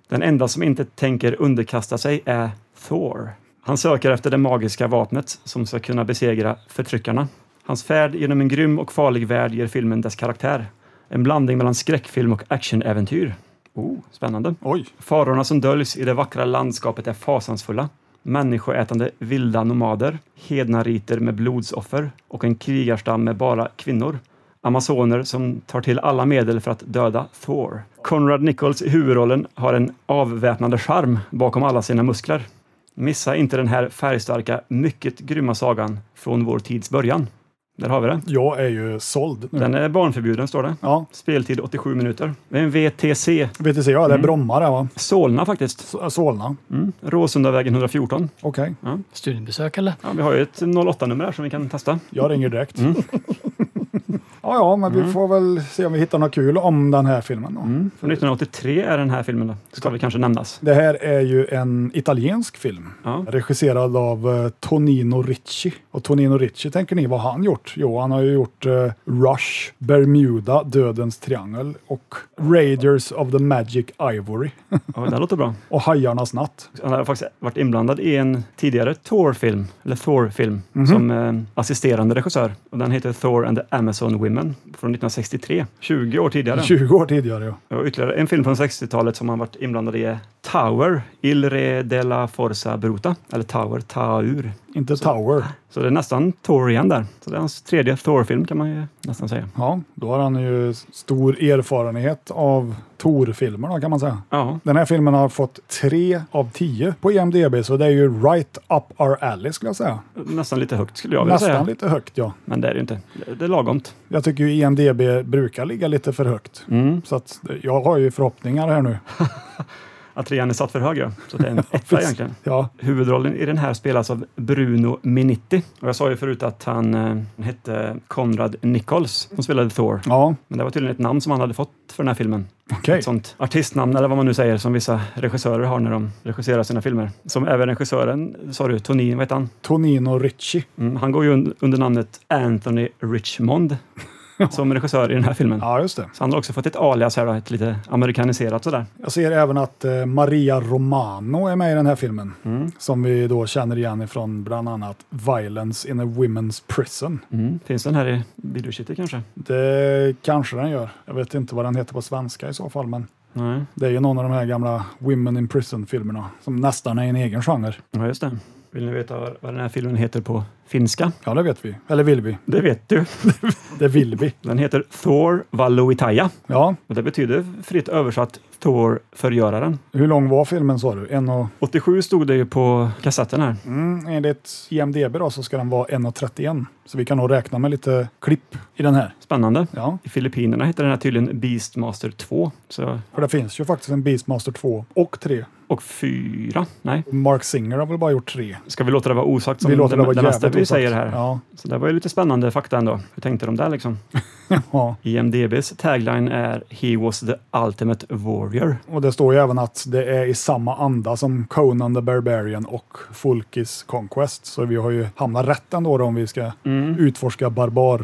Speaker 3: Den enda som inte tänker underkasta sig är Thor. Han söker efter det magiska vapnet som ska kunna besegra förtryckarna. Hans färd genom en grym och farlig värld ger filmen dess karaktär. En blandning mellan skräckfilm och actionäventyr. Oh, spännande.
Speaker 2: Oj,
Speaker 3: Farorna som döljs i det vackra landskapet är fasansfulla. Människoätande vilda nomader, hednariter med blodsoffer och en krigarstam med bara kvinnor. Amazoner som tar till alla medel för att döda Thor. Conrad Nichols i huvudrollen har en avväpnande charm bakom alla sina muskler. Missa inte den här färgstarka, mycket grymma sagan från vår tids början. Där har vi det.
Speaker 2: jag är ju såld nu.
Speaker 3: Den är barnförbjuden, står det.
Speaker 2: Ja,
Speaker 3: Speltid 87 minuter. Det är en VTC.
Speaker 2: VTC, ja det är Bromma det va?
Speaker 3: Solna faktiskt.
Speaker 2: S- Solna.
Speaker 3: Mm. Råsundavägen 114.
Speaker 2: Okej,
Speaker 4: Studiebesök eller?
Speaker 3: Ja, vi har ju ett 08-nummer här som vi kan testa.
Speaker 2: jag ringer direkt.
Speaker 3: Mm.
Speaker 2: <laughs> ja, ja, men vi får väl se om vi hittar något kul om den här filmen då.
Speaker 3: Från 1983 är den här filmen, då. ska vi kanske nämnas.
Speaker 2: Det här är ju en italiensk film
Speaker 3: Ja.
Speaker 2: regisserad av eh, Tonino Ricci. Och Tonino Ricci, tänker ni vad har han gjort? Jo, han har ju gjort eh, Rush, Bermuda, Dödens triangel och Raiders of the Magic Ivory <laughs>
Speaker 3: Ja, det här låter bra.
Speaker 2: och Hajarnas natt.
Speaker 3: Han har faktiskt varit inblandad i en tidigare Thor-film, eller Thor-film, som eh, assisterande regissör. Och den heter Thor and the Amazon Women från 1963, 20 år tidigare.
Speaker 2: 20 år tidigare. Ja.
Speaker 3: Och ytterligare en film från 60-talet som han varit inblandad i är Tower, Il Re della Forza Bruta, eller Tower, Taur.
Speaker 2: Inte Tower.
Speaker 3: Så det är nästan Thor igen där. Så det är hans tredje Thor-film kan man ju nästan säga.
Speaker 2: Ja, då har han ju stor erfarenhet av Tor-filmer då, kan man säga.
Speaker 3: Ja,
Speaker 2: Den här filmen har fått tre av tio på IMDB, så det är ju right up our alley skulle jag säga.
Speaker 3: Nästan lite högt skulle jag vilja
Speaker 2: Nästan
Speaker 3: säga.
Speaker 2: lite högt ja.
Speaker 3: Men det är det ju inte. Det är lagomt.
Speaker 2: Jag tycker ju IMDB brukar ligga lite för högt.
Speaker 3: Mm.
Speaker 2: Så att jag har ju förhoppningar här nu.
Speaker 3: Att trean är satt för hög, ja. Så det är en etta egentligen.
Speaker 2: Ja,
Speaker 3: Huvudrollen i den här spelas av Bruno Minitti. Och jag sa ju förut att han eh, hette Conrad Nichols som spelade Thor.
Speaker 2: ja
Speaker 3: Men det var tydligen ett namn som han hade fått för den här filmen.
Speaker 2: okej.
Speaker 3: Ett sånt artistnamn eller vad man nu säger som vissa regissörer har när de regisserar sina filmer. Som även regissören, sa du, Tony, vad heter han?
Speaker 2: Tonino Ricci.
Speaker 3: Mm, han går ju un- under namnet Anthony Richmond som regissör i den här filmen.
Speaker 2: Ja, just det.
Speaker 3: Så han har också fått ett alias här då, ett lite amerikaniserat sådär.
Speaker 2: Jag ser även att eh, Maria Romano är med i den här filmen.
Speaker 3: Mm.
Speaker 2: Som vi då känner igen ifrån bland annat Violence in a Women's Prison.
Speaker 3: Finns den här i videokittet kanske?
Speaker 2: Det kanske den gör. Jag vet inte vad den heter på svenska i så fall, men
Speaker 3: Nej,
Speaker 2: det är ju någon av de här gamla Women in Prison-filmerna som nästan är en egen genre.
Speaker 3: ja, just det. Vill ni veta vad vad den här filmen heter på finska?
Speaker 2: Ja, det vet vi. Eller vill vi?
Speaker 3: Det vet du.
Speaker 2: Det vill vi.
Speaker 3: Den heter Thor Valuitaja
Speaker 2: Ja,
Speaker 3: och det betyder fritt översatt Thor Förgöraren.
Speaker 2: hur lång var filmen sa du? En och
Speaker 3: 87 stod det ju på kassetten här.
Speaker 2: Mm, enligt IMDB då så ska den vara 1,31. Så vi kan nog räkna med lite klipp i den här.
Speaker 3: Spännande.
Speaker 2: Ja,
Speaker 3: I Filippinerna heter den här tydligen Beastmaster 2 så,
Speaker 2: för det finns ju faktiskt en Beastmaster 2 och 3.
Speaker 3: och 4. Nej,
Speaker 2: Mark Singer har väl bara gjort tre.
Speaker 3: ska vi låta det vara osagt som
Speaker 2: vi låter det, vara
Speaker 3: det mesta
Speaker 2: jävligt
Speaker 3: vi
Speaker 2: osagt.
Speaker 3: säger här?
Speaker 2: Ja,
Speaker 3: Så det var ju lite spännande fakta ändå. Hur tänkte de där liksom?
Speaker 2: ja,
Speaker 3: IMDBs tagline är “He was the ultimate warrior”.
Speaker 2: och det står ju även att det är i samma anda som Conan the Barbarian och Fulkis Conquest. Så vi har ju hamnat rätt ändå då om vi ska utforska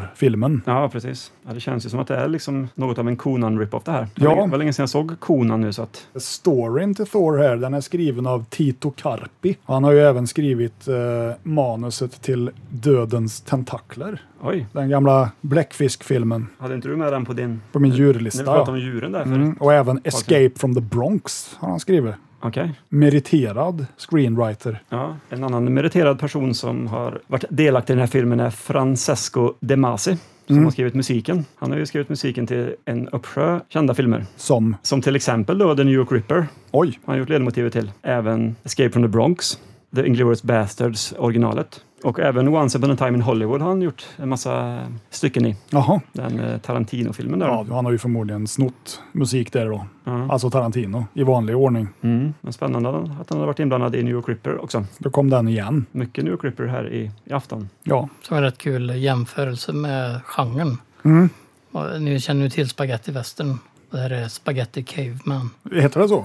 Speaker 2: barbarfilmen.
Speaker 3: Ja, precis. Ja, det känns ju som att det är liksom något av en Conan rip-off det här.
Speaker 2: Ja.
Speaker 3: Det var länge sedan jag såg Conan nu så att
Speaker 2: Storyn till Thor här här. Den är skriven av Tito Karpi. Han har ju även skrivit eh, manuset till Dödens tentakler.
Speaker 3: Oj,
Speaker 2: Den gamla bläckfiskfilmen
Speaker 3: hade inte du med den på din...
Speaker 2: på min
Speaker 3: När vi
Speaker 2: djurlista.
Speaker 3: pratade om
Speaker 2: ja.
Speaker 3: djuren där förut?
Speaker 2: Mm. Och även Escape from the Bronx har han skrivit.
Speaker 3: Okej.
Speaker 2: Meriterad screenwriter.
Speaker 3: Ja. En annan meriterad person som har varit delaktig i den här filmen är Francesco De Masi som
Speaker 2: Mm.
Speaker 3: har skrivit musiken. Han har ju skrivit musiken till en uppsjö kända filmer.
Speaker 2: Som,
Speaker 3: Som till exempel då The New York Ripper, har
Speaker 2: oj,
Speaker 3: han gjort ledmotivet till. Även Escape from the Bronx, The Inglourious Bastards, originalet. Och även Once upon a time in Hollywood har han gjort en massa stycken i.
Speaker 2: jaha.
Speaker 3: Den eh, Tarantino-filmen där.
Speaker 2: Ja,
Speaker 3: Ja.
Speaker 2: han har ju förmodligen snott musik där då. Alltså Tarantino i vanlig ordning.
Speaker 3: Men spännande att han har varit inblandad i New York Ripper också.
Speaker 2: Då kom den igen.
Speaker 3: Mycket New York Ripper här i, i afton.
Speaker 2: Ja,
Speaker 4: Som är en rätt kul jämförelse med genren.
Speaker 3: Mm.
Speaker 4: Och ni känner ju till Spaghetti Western. Det här är Spaghetti Caveman.
Speaker 2: heter det
Speaker 3: <laughs>
Speaker 2: så?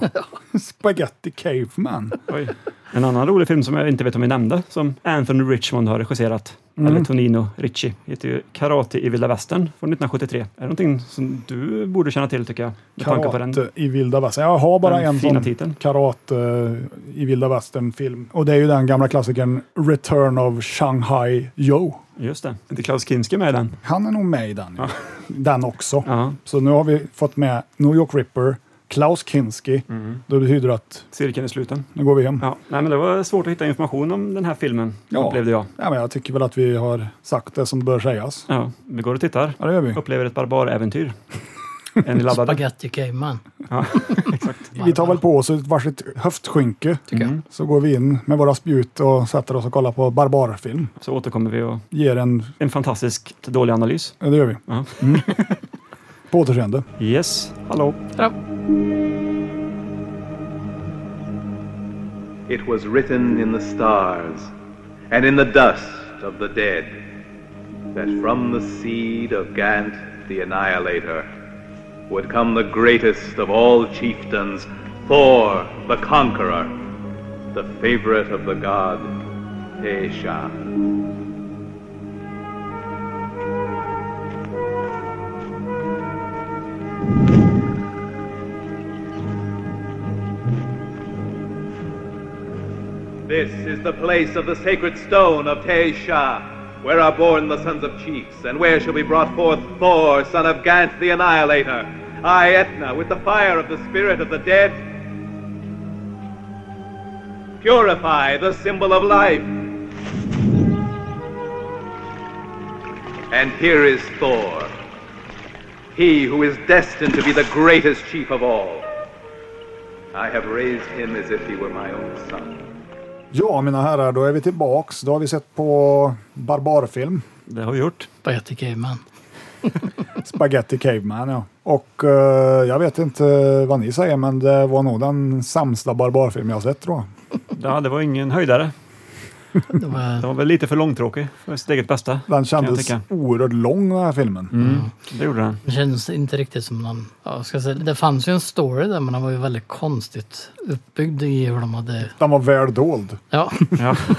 Speaker 2: Spaghetti Caveman.
Speaker 3: Oj. En annan rolig film som jag inte vet om vi nämnde, som Anthony Richmond har regisserat, eller Tonino Ricci, heter ju Karate i vilda västern från 1973. Är det någonting som du borde känna till tycker jag? Med tanke på den.
Speaker 2: Karate i vilda västern. Jag har bara
Speaker 3: Den
Speaker 2: en
Speaker 3: fina
Speaker 2: sån
Speaker 3: titeln.
Speaker 2: karate eh, i vilda västern film. Och det är ju den gamla klassikern Return of Shanghai Joe.
Speaker 3: Just det. Inte Klaus Kinski med i den?
Speaker 2: Han är nog med i den. ju. <laughs> Den också.
Speaker 3: Ja.
Speaker 2: Så nu har vi fått med New York Ripper, Klaus Kinski.
Speaker 3: Mm.
Speaker 2: Då betyder det att
Speaker 3: Cirkeln är sluten.
Speaker 2: nu går vi hem.
Speaker 3: Ja. Nej, men det var svårt att hitta information om den här filmen,
Speaker 2: Ja.
Speaker 3: upplevde jag.
Speaker 2: Ja, men jag tycker väl att vi har sagt det som bör sägas.
Speaker 3: Ja. Vi går och tittar.
Speaker 2: Ja, det gör vi.
Speaker 3: Upplever ett <laughs> barbaräventyr. Är ni laddade?
Speaker 4: Spaghetti Caveman.
Speaker 3: Ja, exakt.
Speaker 2: Vi tar väl på oss ett varsitt höftskynke.
Speaker 4: Tycker
Speaker 3: Mm.
Speaker 4: jag.
Speaker 2: Så går vi in med våra spjut och sätter oss och kollar på barbarfilm.
Speaker 3: Så återkommer vi och
Speaker 2: Ger en...
Speaker 3: en fantastiskt dålig analys.
Speaker 2: ja, Det gör vi. Mm.
Speaker 3: Ja.
Speaker 2: <laughs> På återseende.
Speaker 3: Yes, hallå.
Speaker 4: Ja.
Speaker 8: It was written in the stars and in the dust of the dead that from the seed of Gant the Annihilator would come the greatest of all chieftains, Thor the Conqueror, the favorite of the god Aesha. This is the place of the sacred stone of Teisha, where are born the sons of chiefs, and where shall be brought forth Thor, son of Gant the Annihilator, I, Etna, with the fire of the spirit of the dead. Purify the symbol of life. And here is Thor, he who is destined to be the greatest chief of all. I have raised him as if he were my own son.
Speaker 2: Ja, mina herrar, då är vi tillbaks. Då har vi sett på barbarfilm.
Speaker 3: Det har vi gjort.
Speaker 4: Spaghetti Caveman.
Speaker 2: Spaghetti Caveman, ja. Och eh, jag vet inte vad ni säger, men det var nog den sämsta barbarfilm jag har sett tror jag.
Speaker 3: Ja, det var ingen höjdare.
Speaker 4: Det var,
Speaker 3: Den var väl lite för långtråkig för sitt eget bästa.
Speaker 2: Den
Speaker 3: kan jag Mm.
Speaker 2: kändes
Speaker 3: tycka.
Speaker 2: oerhört lång den här filmen.
Speaker 3: Det gjorde den.
Speaker 4: det kändes inte riktigt som någon... Ja, jag ska säga, det fanns ju en story där men den var ju väldigt konstigt uppbyggd i hur de hade...
Speaker 2: Den var väl dold.
Speaker 4: Ja,
Speaker 3: Ja.
Speaker 4: <laughs>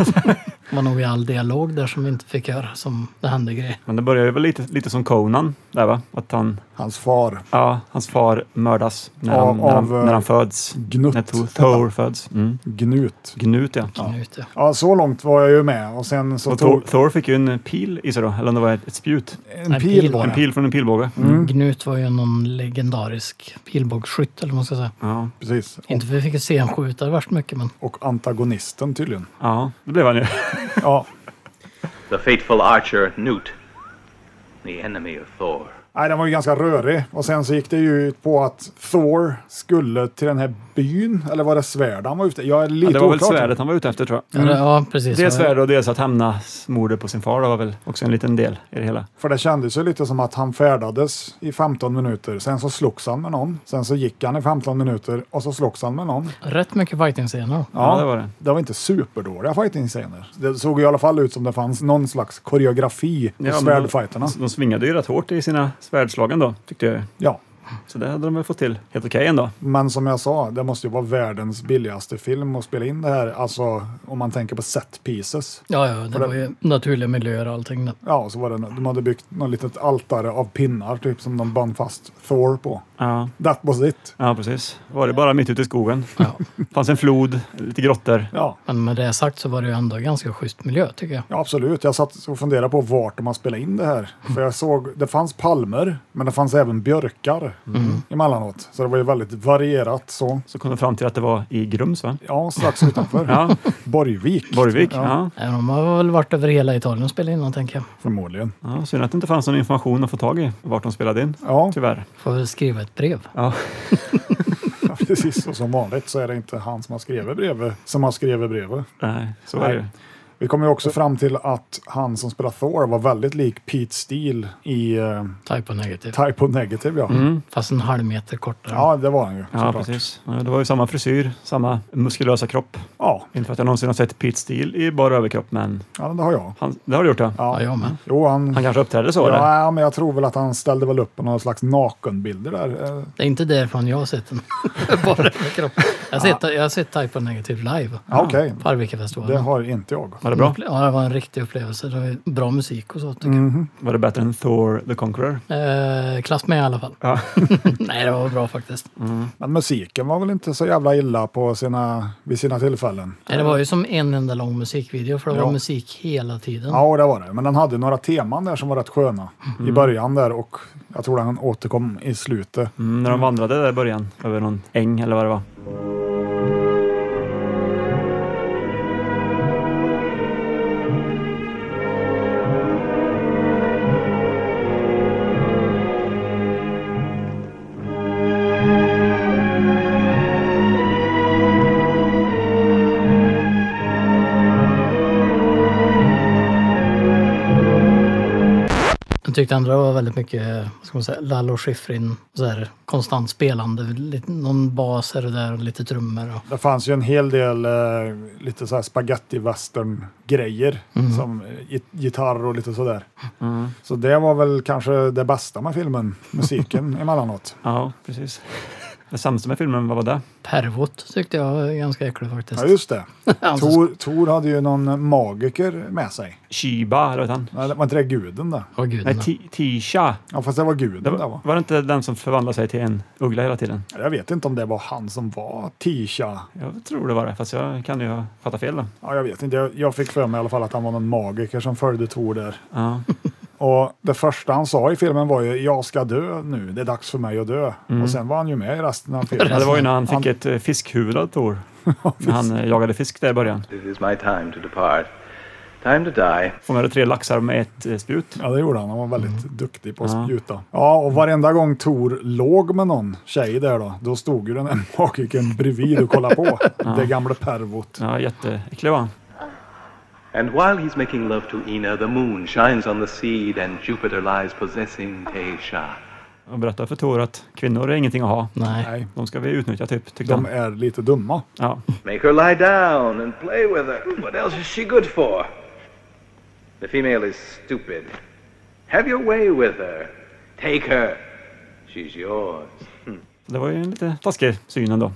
Speaker 4: det var nog i all dialog där som vi inte fick höra som det hände grejer.
Speaker 3: Men det började väl lite, lite som Conan där va? Att han,
Speaker 2: Hans far.
Speaker 3: ja, hans far mördas när,
Speaker 2: Av-
Speaker 3: han, när, han,
Speaker 2: av, eh,
Speaker 3: när han föds.
Speaker 2: Gnut.
Speaker 3: När Thor, Thor föds. Mm.
Speaker 2: Gnut.
Speaker 3: Gnut ja.
Speaker 4: Nu ute.
Speaker 2: Ja, så långt var jag ju med. Och sen så
Speaker 3: Och Thor,
Speaker 2: tog
Speaker 3: Thor fick ju en pil i sig då, eller om det var ett, ett spjut.
Speaker 2: en
Speaker 4: en
Speaker 2: pil
Speaker 4: pil.
Speaker 2: var
Speaker 3: En
Speaker 2: det.
Speaker 3: pil från en pilbåge.
Speaker 4: Gnut var ju någon legendarisk pilbågsskytt eller vad man ska säga.
Speaker 3: Ja.
Speaker 2: Precis.
Speaker 4: Inte för att vi fick se han skjuta värst mycket men
Speaker 2: Och antagonisten tydligen.
Speaker 3: ja, det blev han ju.
Speaker 2: Ja.
Speaker 8: the fateful archer Newt, the enemy of Thor.
Speaker 2: Nej, den var ju ganska rörig. Och sen så gick det ju ut på att Thor skulle till den här byn. Eller var det svärd han var ute Jag är
Speaker 3: Ja,
Speaker 2: lite
Speaker 3: det var väl
Speaker 2: oklart.
Speaker 3: svärdet han var ute efter tror jag.
Speaker 4: Ja, det- ja precis.
Speaker 3: Mm. Dels svärd och dels att hämna mordet på sin far. Det var väl också en liten del i det hela.
Speaker 2: För det kändes ju lite som att han färdades i 15 minuter. Sen så slogs han med någon. Sen så gick han i 15 minuter och så slogs han med någon.
Speaker 4: Rätt mycket fighting-scener.
Speaker 3: Ja, det var det.
Speaker 2: Det var inte superdåliga fighting-scener. Det såg i alla fall ut som det fanns någon slags koreografi i
Speaker 3: Ja, men
Speaker 2: svärdfighterna.
Speaker 3: De, de svingade ju rätt hårt i sina svärdslag ändå, tyckte jag.
Speaker 2: Ja,
Speaker 3: Så det hade de väl fått till helt okej ändå.
Speaker 2: Men som jag sa, det måste ju vara världens billigaste film att spela in det här. Alltså om man tänker på set pieces.
Speaker 4: Ja, ja, det var ju naturliga miljöer och allting. där.
Speaker 2: Ja, så var det, de hade byggt något litet altare av pinnar typ som de band fast Thor på.
Speaker 3: Ja,
Speaker 2: That was it.
Speaker 3: ja precis. Var det bara mitt ute i skogen.
Speaker 4: Ja.
Speaker 3: <laughs> fanns en flod, lite grottor.
Speaker 2: Ja,
Speaker 4: Men med det sagt så var det ju ändå ganska schysst miljö tycker jag.
Speaker 2: ja absolut. Jag satt och funderade på vart de har spelat in det här. För jag såg, det fanns palmer, men det fanns även björkar emellanåt. Så det var ju väldigt varierat så.
Speaker 3: Så kom de fram till att det var i Grums va?
Speaker 2: Ja, strax utanför.
Speaker 3: <laughs> Ja,
Speaker 2: Borgvik.
Speaker 3: Borgvik.
Speaker 2: Ja.
Speaker 3: Ja.
Speaker 4: Även om man har väl varit över hela Italien och spelat in den, tänker jag.
Speaker 2: Förmodligen.
Speaker 3: Ja, synd att det inte fanns någon information att få tag i vart de spelade in.
Speaker 2: Ja,
Speaker 3: Tyvärr.
Speaker 4: Får väl skriva ett brev.
Speaker 3: Ja.
Speaker 2: precis. Och som vanligt så är det inte han som har skrivit brevet som har skrivit brevet.
Speaker 3: Nej, så är det ju.
Speaker 2: Vi kommer ju också fram till att han som spelar Thor var väldigt lik Pete Steele i eh,
Speaker 4: Typo negativ.
Speaker 2: Type of Negative. Ja,
Speaker 4: Fast en halv meter kortare.
Speaker 2: ja det var han ju.
Speaker 3: Ja,
Speaker 2: såklart.
Speaker 3: precis. Ja, Det var ju samma frisyr, samma muskulösa kropp.
Speaker 2: Ja,
Speaker 3: Inte för att jag någonsin har sett Pete Steele i bara överkropp, men
Speaker 2: ja, det har jag.
Speaker 3: han, det har du gjort ja.
Speaker 4: Ja, jag med.
Speaker 2: Jo, han,
Speaker 3: Han kanske uppträdde så eller?
Speaker 2: ja, men jag tror väl att han ställde väl upp på någon slags nakenbilder där. Eh,
Speaker 4: Det är inte därifrån jag har sett den. <laughs> Bara med kroppen. Jag har sett, jag har sett Typo negativ live.
Speaker 2: Ja, Okej,
Speaker 4: På Arvikafestivalen.
Speaker 2: det har inte jag.
Speaker 3: Var det bra?
Speaker 4: Ja, det var en riktig upplevelse. Det var bra musik och så tycker
Speaker 3: Var det bättre än Thor the Conqueror?
Speaker 4: jag. Eh, klass med i alla fall.
Speaker 3: Ja.
Speaker 4: Nej, det var bra faktiskt.
Speaker 2: Men musiken var väl inte så jävla illa på sina, vid sina tillfällen.
Speaker 4: Nej, det var ju som en enda lång musikvideo för det
Speaker 2: Ja.
Speaker 4: var musik hela tiden.
Speaker 2: Ja, det var det. Men den hade några teman där som var rätt sköna i början där och jag tror den återkom i slutet.
Speaker 3: Mm, när de vandrade där i början, över någon äng eller vad det var.
Speaker 4: Jag tyckte andra var väldigt mycket, vad ska man säga, Lalo Schifrin, så här, konstant spelande. Lite, någon bas här och där och lite trummor. Och,
Speaker 2: Det fanns ju en hel del eh, lite så här spaghetti western grejer som eh, git- gitarr och lite sådär. Så det var väl kanske det bästa med filmen, musiken emellanåt.
Speaker 3: Ja, precis. Det sämsta med filmen, vad var det?
Speaker 4: Pervot tyckte jag var ganska äcklig faktiskt.
Speaker 2: Ja, just det.
Speaker 4: Alltså,
Speaker 2: Tor, Tor hade ju någon magiker med sig.
Speaker 3: Shiba, eller vad hette han?
Speaker 2: Nej, det var inte det guden det?
Speaker 4: åh gud,
Speaker 3: Nej,
Speaker 4: nej.
Speaker 3: Ti- Tisha.
Speaker 2: Ja, fast det var guden
Speaker 3: Det
Speaker 2: det
Speaker 3: var,
Speaker 2: var.
Speaker 3: var det inte den som förvandlade sig till en uggla hela tiden?
Speaker 2: Jag vet inte om det var han som var Tisha.
Speaker 3: Jag tror det var det, fast jag kan ju ha fattat fel då.
Speaker 2: Ja, jag vet inte. Jag, jag fick för mig i alla fall att han var någon magiker som följde Tor där.
Speaker 3: Ja.
Speaker 2: <laughs> Och det första han sa i filmen var ju jag ska dö nu, det är dags för mig att dö. Och sen var han ju med i resten
Speaker 3: <laughs>
Speaker 2: av filmen.
Speaker 3: Mm. Ja, det var ju när han fick ett eh, fiskhuvud av Tor. När han eh, jagade fisk där i början.
Speaker 8: It is my time to depart. Time to die.
Speaker 3: Fångade tre laxar med ett eh, spjut.
Speaker 2: Ja, det gjorde han. Han var väldigt duktig på att
Speaker 3: Mm. Ja.
Speaker 2: spjuta. Ja, och varenda gång Tor låg med någon tjej där då, då stod ju den här <laughs> magikern bredvid och kollade
Speaker 3: <laughs>
Speaker 2: på. Det gamla pervot.
Speaker 3: Ja, jätteäcklig var han.
Speaker 8: And while he's making love to Ina, the moon shines on the seed, and Jupiter lies possessing Teisha.
Speaker 3: Och berättade för Tor att kvinnor är ingenting att ha.
Speaker 4: nej.
Speaker 2: Nej,
Speaker 3: De ska vi utnyttja typ, tyckte
Speaker 2: de
Speaker 3: han.
Speaker 2: är lite dumma.
Speaker 3: Ja.
Speaker 8: Make her lie down and play with her. What else is she good for? The female is stupid. Have your way with her. Take her. She's yours.
Speaker 3: Det var ju en lite taskig
Speaker 2: <laughs>
Speaker 3: syn ändå.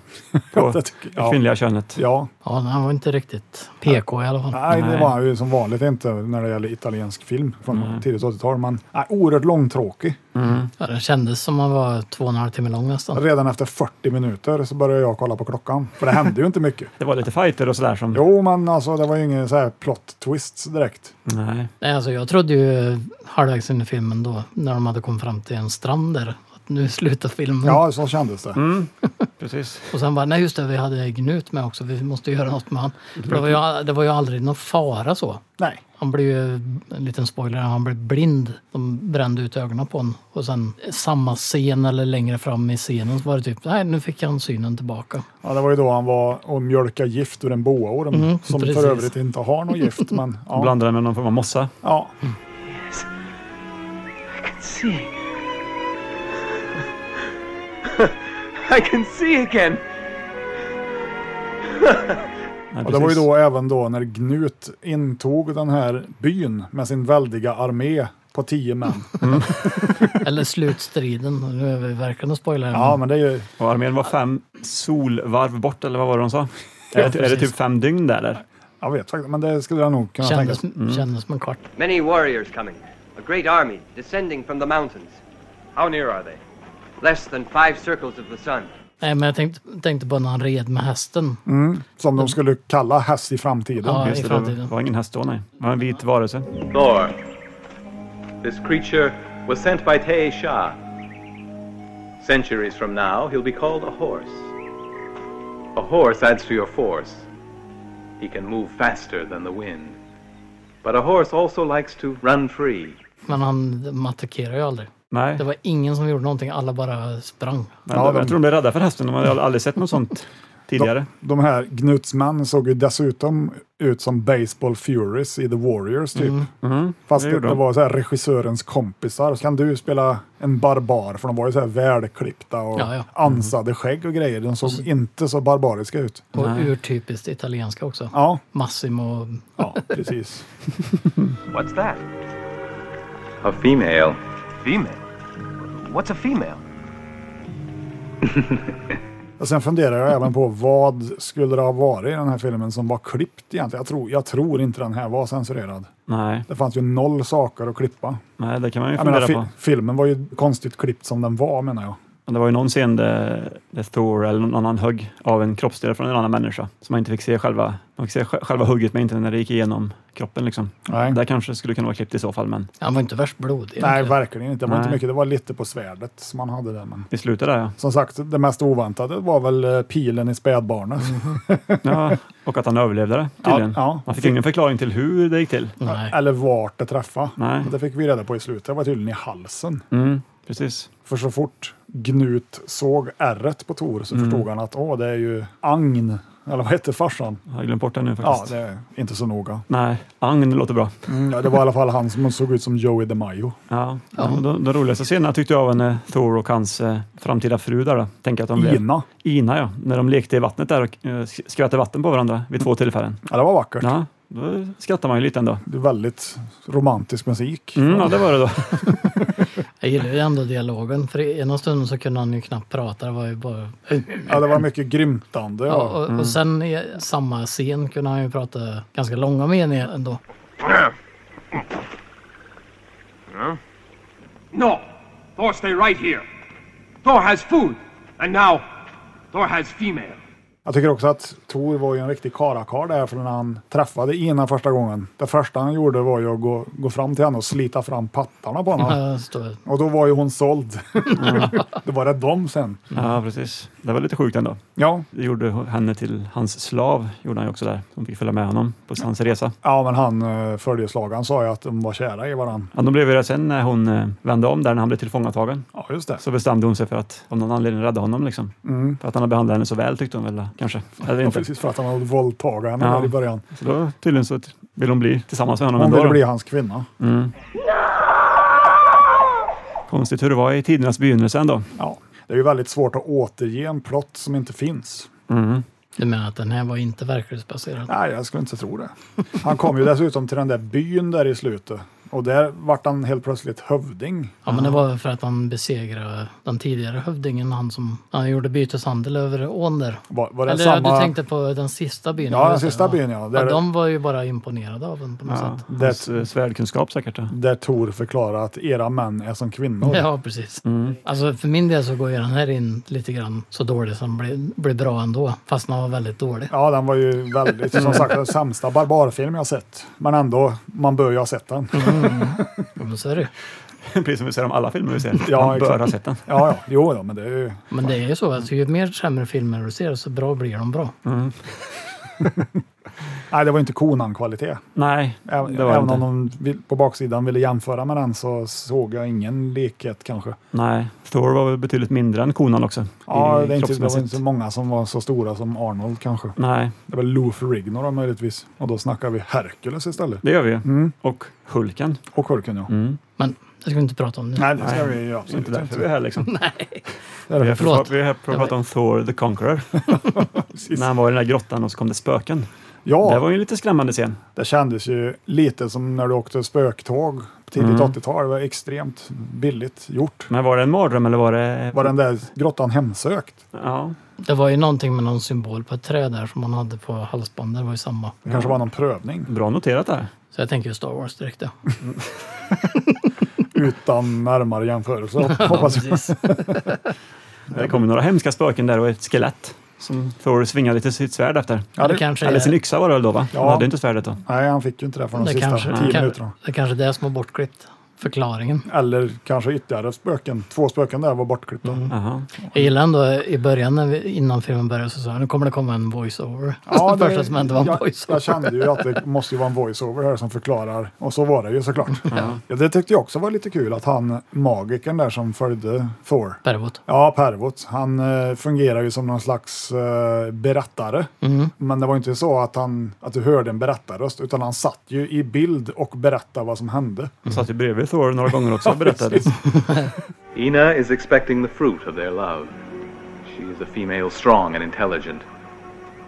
Speaker 3: På
Speaker 2: Det
Speaker 3: det
Speaker 2: tycker jag.
Speaker 3: kvinnliga könet.
Speaker 2: Ja,
Speaker 4: Ja, den var inte riktigt PK i alla fall.
Speaker 2: nej, det
Speaker 3: Nej.
Speaker 2: var ju som vanligt inte när det gäller italiensk film från tidigt 80-tal. Men nej, oerhört långtråkig.
Speaker 4: Ja, den kändes som man var två och en halv timme lång nästan.
Speaker 2: Redan efter 40 minuter så började jag kolla på klockan. För det hände ju inte mycket.
Speaker 3: Det var lite fighter och sådär som...
Speaker 2: Jo, men alltså det var ju ingen så här plot twists direkt.
Speaker 3: Nej.
Speaker 4: Nej, alltså jag trodde ju halvvägs in i filmen då, när de hade kommit fram till en strand där, att nu slutar filmen.
Speaker 2: Ja, så kändes det.
Speaker 4: Mm.
Speaker 3: Precis.
Speaker 4: Och sen bara, nej just det, vi hade Gnut med också, vi måste göra något med han. För det, var ju, det var ju aldrig någon fara så.
Speaker 2: Nej.
Speaker 4: Han blev ju, en liten spoiler, han blev blind. De brände ut ögonen på honom. Och sen samma scen eller längre fram i scenen så var det typ, nej nu fick han synen tillbaka.
Speaker 2: Ja, det var ju då han var och mjölkade gift ur en boaorm som
Speaker 4: Mm, precis.
Speaker 2: för övrigt inte har något gift.
Speaker 4: <laughs>
Speaker 2: Men,
Speaker 3: Ja.
Speaker 2: ja,
Speaker 3: Blandade med någon form av mossa.
Speaker 2: ja.
Speaker 4: Mm,
Speaker 8: See. <laughs> I can see again.
Speaker 3: Nej,
Speaker 2: Och det var ju
Speaker 3: precis.
Speaker 2: då även då när Gnut intog den här byn med sin väldiga armé. på tio
Speaker 4: Mm.
Speaker 2: män.
Speaker 4: Eller slutstriden. Nu är vi verkligen och spoilar.
Speaker 2: Ja, men det är ju...
Speaker 3: Och armén var fem solvarv bort, eller vad var det de sa? är, det, är det
Speaker 4: precis.
Speaker 3: typ fem dygn där, eller?
Speaker 2: Jag vet faktiskt, men det skulle jag Mm. nog kunna tänka
Speaker 4: kändes,
Speaker 2: mig.
Speaker 4: kändes som en kvart.
Speaker 9: Many warriors coming. A great army descending from the mountains. How near are they? Less than five circles of the sun.
Speaker 4: Nej, men jag tänkte, tänkte på när han red med hästen.
Speaker 2: Som de skulle kalla häst i framtiden.
Speaker 4: Ja, i
Speaker 3: Just det, det
Speaker 4: framtiden.
Speaker 3: var ingen häst då, nej. Det var en vit varelse.
Speaker 8: Thor. This creature was sent by Te Shah. Centuries from now, he'll be called a horse. A horse adds to your force. He can move faster than the wind. But a horse also likes to run free.
Speaker 4: Men han de attackerade ju aldrig.
Speaker 3: Nej,
Speaker 4: Det var ingen som gjorde någonting. Alla bara sprang.
Speaker 3: men
Speaker 2: Ja,
Speaker 3: jag
Speaker 2: de-
Speaker 3: tror de blev rädda för hästen. De hade aldrig sett något sånt tidigare.
Speaker 2: De här Gnutsmän såg ju dessutom ut som Baseball Furies i The Warriors typ. Fast
Speaker 3: Mm. det
Speaker 2: det,
Speaker 3: gjorde
Speaker 2: det
Speaker 3: de.
Speaker 2: var så här regissörens kompisar. Så kan du spela en barbar? För de var ju så här välklippta och
Speaker 4: Ja, Mm. ja.
Speaker 2: ansade skägg och grejer. De såg inte så barbariska ut.
Speaker 4: Och urtypiskt italienska också.
Speaker 2: Ja,
Speaker 4: Massimo.
Speaker 2: ja precis.
Speaker 9: What's that?
Speaker 8: A female.
Speaker 9: Female. What's a female?
Speaker 2: Och sen funderar jag även på vad skulle det ha varit i den här filmen som var klippt egentligen? Jag tror, jag tror inte den här var censurerad.
Speaker 3: Nej,
Speaker 2: Det fanns ju noll saker att klippa.
Speaker 3: nej, det kan man ju
Speaker 2: Jag menar,
Speaker 3: fundera på.
Speaker 2: fi- filmen var ju konstigt klippt som den var menar jag.
Speaker 3: Men Det var ju någon scen där, där Thor eller någon annan högg av en kroppsdel från en annan människa. Så man inte fick se själva, man fick se sj- själva hugget men inte när det gick igenom kroppen. Liksom.
Speaker 2: Nej.
Speaker 3: Där kanske skulle kunna vara klippt i så fall, men
Speaker 4: Han var inte värst blodig.
Speaker 2: Nej,
Speaker 4: egentligen.
Speaker 2: verkligen inte. Det var inte
Speaker 3: Nej.
Speaker 2: mycket. Det var lite på svärdet som man hade där. Men
Speaker 3: vi slutar där ja.
Speaker 2: som sagt, det mest oväntade var väl eh, pilen i spädbarnet.
Speaker 3: ja. Och att han överlevde det Mm, tydligen.
Speaker 2: Ja, ja.
Speaker 3: Man fick ingen förklaring till hur det gick till.
Speaker 4: Nej.
Speaker 2: Eller vart det träffade.
Speaker 3: Nej.
Speaker 2: Det fick vi reda på i slutet. Det var tydligen i halsen.
Speaker 3: Mm, precis.
Speaker 2: För så fort Gnut såg ärret på Tor så
Speaker 3: Mm.
Speaker 2: förstod han att åh, det är ju Agn. Eller vad hette farsan?
Speaker 3: Jag har glömt bort det nu
Speaker 2: Ja,
Speaker 3: faktiskt.
Speaker 2: det är inte så noga. Mm,
Speaker 3: Nej, Agn låter bra.
Speaker 2: Ja, det var i alla fall han som såg ut som Joey DeMaio.
Speaker 3: Ja. De, de, de roligaste scenerna tyckte jag var när Thor och hans eh, framtida fru där då. Tänk att de blev...
Speaker 2: Ina.
Speaker 3: Ina ja. När de lekte i vattnet där och eh, sk- skvätte vatten på varandra vid två tillfällen.
Speaker 2: Ja, det var vackert.
Speaker 3: Ja, då skrattar man ju lite ändå.
Speaker 2: Det är väldigt romantisk musik.
Speaker 3: Mm, ja, det var det då.
Speaker 4: Jag gillar ju ändå dialogen. För i ena stunden så kunde han ju knappt prata. Det var ju bara...
Speaker 2: Ja, det var mycket grymtande.
Speaker 4: Ja,
Speaker 2: Ja.
Speaker 4: och, och sen i samma scen kunde han ju prata ganska långa meningar ändå.
Speaker 10: No! Thor, stay right here. Thor has food. And now, Thor has female.
Speaker 2: Jag tycker också att Tor var ju en riktig karakar där för när han träffade Ina första gången. Det första han gjorde var ju att gå, gå fram till henne och slita fram pattarna på henne.
Speaker 4: Ja, står-
Speaker 2: Och då var ju hon såld. <laughs> det var det dem sen.
Speaker 3: Ja, precis. Det var lite sjukt ändå.
Speaker 2: Ja,
Speaker 3: Det gjorde henne till hans slav, gjorde han ju också där. Hon fick följa med honom på hans resa.
Speaker 2: ja men han eh, följeslagaren sa ju att de var kära i varandra.
Speaker 3: Ja, de blev ju det sen när hon eh, vände om där, när han blev tillfångatagen.
Speaker 2: Ja, just det.
Speaker 3: Så bestämde hon sig för att av någon anledning rädda honom. Liksom. För att han hade behandlat henne så väl tyckte hon väl kanske. Eller
Speaker 2: Mm. Ja,
Speaker 3: inte.
Speaker 2: precis för att han hade våldtagit henne
Speaker 3: Ja.
Speaker 2: där i början.
Speaker 3: Så då tydligen så vill hon bli tillsammans med honom
Speaker 2: Hon
Speaker 3: ändå.
Speaker 2: ville
Speaker 3: då.
Speaker 2: bli hans kvinna.
Speaker 3: Konstigt hur det var i tidernas begynnelse ändå.
Speaker 2: Ja. Det är ju väldigt svårt att återge en plott som inte finns.
Speaker 4: Du menar att den här var inte verklighetsbaserad?
Speaker 2: Nej, jag skulle inte tro det. Han kom ju dessutom till den där byn där i slutet och där vart han helt plötsligt hövding.
Speaker 4: Ja, men det var väl för att han besegrade den tidigare hövdingen, han som han gjorde byteshandel över ån där.
Speaker 2: Var, var det
Speaker 4: Eller
Speaker 2: samma...
Speaker 4: du tänkte på den sista byn?
Speaker 2: Ja, den
Speaker 4: just det,
Speaker 2: sista byn, ja. Där-
Speaker 4: ja. De var ju bara imponerade av den på något
Speaker 3: Ja,
Speaker 4: sätt.
Speaker 3: hans, eh, svärdkunskap säkert. ja.
Speaker 2: Där Tor förklarar att era män är som kvinnor.
Speaker 4: Ja, precis.
Speaker 2: Mm.
Speaker 4: Alltså för min del så går ju den här in lite grann så dålig som blir, blir bra ändå. Fast den var väldigt dålig.
Speaker 2: Ja, den var ju väldigt, som sagt, den sämsta barbarfilm jag sett. Men ändå, man bör ju ha sett den.
Speaker 3: Mm,
Speaker 4: Ja, men så är det ju.
Speaker 3: <laughs> Precis som vi säger om alla filmer vi ser.
Speaker 2: Ja,
Speaker 3: Man bör
Speaker 2: exakt.
Speaker 3: ha sett den.
Speaker 2: Ja, ja, jo, ja, men det är ju...
Speaker 4: Men det är ju så att ju mer sämre filmer du ser så bra blir de bra.
Speaker 2: Mm. Nej, det var inte Konan-kvalitet.
Speaker 3: Nej, det
Speaker 2: Även,
Speaker 3: var det
Speaker 2: även om
Speaker 3: inte.
Speaker 2: de vill- på baksidan ville jämföra med den så såg jag ingen likhet kanske.
Speaker 3: Nej, Thor var väl betydligt mindre än konan också.
Speaker 2: Ja,
Speaker 3: i-
Speaker 2: det, är inte, det var
Speaker 3: kroppsmässigt.
Speaker 2: inte många som var så stora som Arnold kanske.
Speaker 3: Nej,
Speaker 2: Det var Loof Rignor då, möjligtvis. Och då snackar vi Hercules istället.
Speaker 3: det gör vi ju.
Speaker 2: Mm.
Speaker 3: Och Hulken.
Speaker 2: Och Hulken ja.
Speaker 4: Men det ska vi inte prata om nu.
Speaker 2: Mm. Nej, det ska vi ju absolut
Speaker 3: Inte
Speaker 2: inte.
Speaker 3: därför vi är här liksom.
Speaker 2: Det är
Speaker 3: Vi har
Speaker 2: därför-
Speaker 4: Förlåt.
Speaker 3: pratat- vi har pratat om Thor
Speaker 2: <laughs>
Speaker 3: the Conqueror. När han var i den där grottan och så kom det spöken.
Speaker 2: Ja,
Speaker 3: Det var ju en lite skrämmande scen.
Speaker 2: det kändes ju lite som när du åkte spöktåg skepp tidigt 80-tal. Det var extremt billigt gjort.
Speaker 3: Men var det en mardröm eller var det...
Speaker 2: Var den där grottan hemsökt?
Speaker 3: Ja.
Speaker 4: Det var ju någonting med någon symbol på ett träd där som man hade på halsbandet. Det var ju samma.
Speaker 2: Det kanske var någon prövning
Speaker 3: Bra noterat där.
Speaker 4: Så jag tänker ju Star Wars direkt. Ja.
Speaker 2: utan närmare jämförelse. Hoppas jag.
Speaker 4: Precis.
Speaker 3: Det kom ju några hemska spöken där och ett skelett som Thor svingade lite sitt svärd efter.
Speaker 2: Ja,
Speaker 4: Det
Speaker 2: det,
Speaker 4: kanske
Speaker 3: Eller sin
Speaker 4: är,
Speaker 3: yxa var det väl då va?
Speaker 2: Ja.
Speaker 3: Han hade inte svärdet då.
Speaker 2: nej, han fick ju inte det för de
Speaker 4: det
Speaker 2: sista
Speaker 4: kanske,
Speaker 2: tio
Speaker 4: kan-
Speaker 2: minuterna.
Speaker 4: det kanske är det som var bortklippt. Förklaringen.
Speaker 2: Eller kanske ytterligare spöken. Två spöken där var bortklippta.
Speaker 3: Jaha.
Speaker 4: Jag gillar ändå i början när vi, innan filmen började så sa jag nu kommer det komma en voice-over.
Speaker 2: Ja,
Speaker 4: det <laughs> första som hände var en
Speaker 2: jag, jag
Speaker 4: voice-over.
Speaker 2: kände ju att det måste ju vara en voiceover här som förklarar. Och så var det ju såklart. Ja. det tyckte jag också var lite kul att han, magikern där som följde Thor.
Speaker 4: Pervot.
Speaker 2: Ja, Pervot. Han eh, fungerar ju som någon slags eh, berättare.
Speaker 4: Mm.
Speaker 2: Men det var ju inte så att, han, att du hörde en berättarröst, utan han satt ju i bild och berättade vad som hände.
Speaker 4: Mm.
Speaker 3: Han satt ju bredvid Thor några gånger
Speaker 2: <laughs>
Speaker 3: också och berättade.
Speaker 8: Ina is expecting the fruit of their love. She is a female strong and intelligent,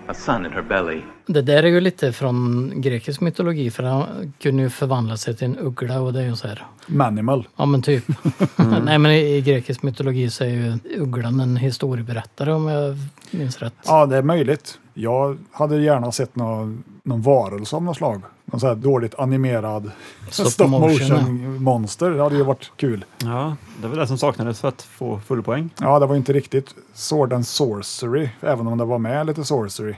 Speaker 8: a son in her belly.
Speaker 4: Det där är ju lite från grekisk mytologi för han kunde ju förvandla sig till en uggla och det är ju så här.
Speaker 2: Manimal.
Speaker 4: Ja
Speaker 2: <laughs>
Speaker 4: men typ.
Speaker 2: Mm.
Speaker 4: Nej men i, i grekisk mytologi så är ju ugglan en historieberättare om jag minns rätt.
Speaker 2: Ja, det är möjligt. Jag hade gärna sett någon, någon varelse av något slag. Någon sån här dåligt animerad <laughs>
Speaker 4: Stop
Speaker 2: stop
Speaker 4: motion,
Speaker 2: motion monster. Det hade ju varit kul.
Speaker 3: Ja, det var det som saknades för att få full poäng.
Speaker 2: Ja, det var ju inte riktigt Sword and Sorcery, även om det var med lite Sorcery.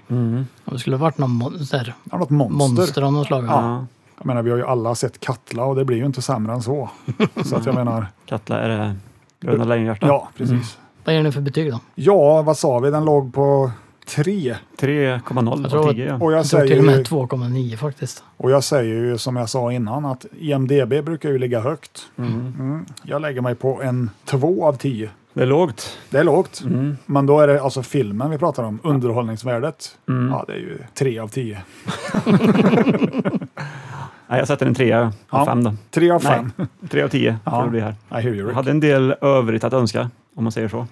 Speaker 4: Det skulle ha varit någon mon- så här,
Speaker 2: Ja, något monster.
Speaker 4: Mm. monster av något slag.
Speaker 2: Ja. Jag menar, vi har ju alla sett Katla och det blir ju inte sämre än
Speaker 4: <laughs>
Speaker 2: så. Så att jag menar,
Speaker 3: Katla är det Bröderna Lejonhjärta.
Speaker 2: ja,
Speaker 4: Mm.
Speaker 2: precis.
Speaker 4: Vad ger ni för betyg då?
Speaker 2: Ja, vad sa vi? Den låg på tre.
Speaker 3: 3,0
Speaker 4: Jag tror
Speaker 3: av
Speaker 4: att-
Speaker 3: 10. Ja.
Speaker 2: Och jag,
Speaker 4: Jag tror till och
Speaker 2: säger ju,
Speaker 4: med 2,9 faktiskt.
Speaker 2: och jag säger ju som jag sa innan att IMDB brukar ju ligga högt. Mm. Jag lägger mig på en två av tio.
Speaker 3: Det är lågt.
Speaker 2: Det är lågt,
Speaker 3: Mm.
Speaker 2: men då är det alltså filmen vi pratar om, underhållningsvärdet.
Speaker 3: Mm.
Speaker 2: Ja, det är ju tre av tio.
Speaker 3: Nej, jag sätter en trea av
Speaker 2: Ja.
Speaker 3: fem då.
Speaker 2: Tre av fem.
Speaker 3: Nej, tre av tio får
Speaker 2: Ja.
Speaker 3: det bli här.
Speaker 2: I hear you,
Speaker 3: Jag
Speaker 2: Rick.
Speaker 3: hade en del övrigt att önska, om man säger så.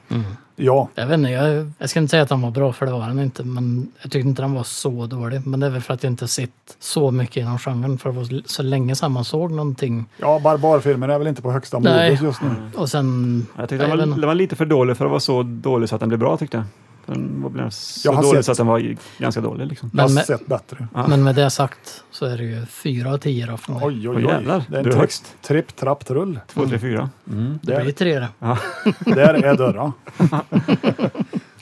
Speaker 2: Ja,
Speaker 4: Jag vet inte, jag, jag ska inte säga att han var bra för det var han inte. Men jag tyckte inte han var så dålig. Men det är väl för att jag inte sett så mycket inom genren. För det var så länge sedan man såg någonting.
Speaker 2: ja barbarfilmer är väl inte på högsta
Speaker 4: Nej. Mm.
Speaker 2: modet just nu.
Speaker 4: Och sen...
Speaker 3: Jag tyckte den
Speaker 4: jag vet
Speaker 3: var,
Speaker 4: inte.
Speaker 3: den var lite för dålig för att vara så dålig så att den blev bra tyckte jag. Den var blev så
Speaker 2: Jag har
Speaker 3: dålig
Speaker 2: sett-
Speaker 3: så att den var ganska dålig. Liksom.
Speaker 2: Jag har
Speaker 4: Men med-
Speaker 2: sett bättre.
Speaker 4: Men med det sagt så är det ju 4 av 10 då för mig.
Speaker 2: Oj, oj,
Speaker 3: Åh,
Speaker 2: oj.
Speaker 3: jävlar.
Speaker 2: Det är en
Speaker 3: Du är
Speaker 2: tri-
Speaker 3: högst.
Speaker 2: Tripp, trapp, trull.
Speaker 3: Två, tre, fyra.
Speaker 4: det blir
Speaker 2: Där,
Speaker 4: 3 det.
Speaker 2: där är dörra.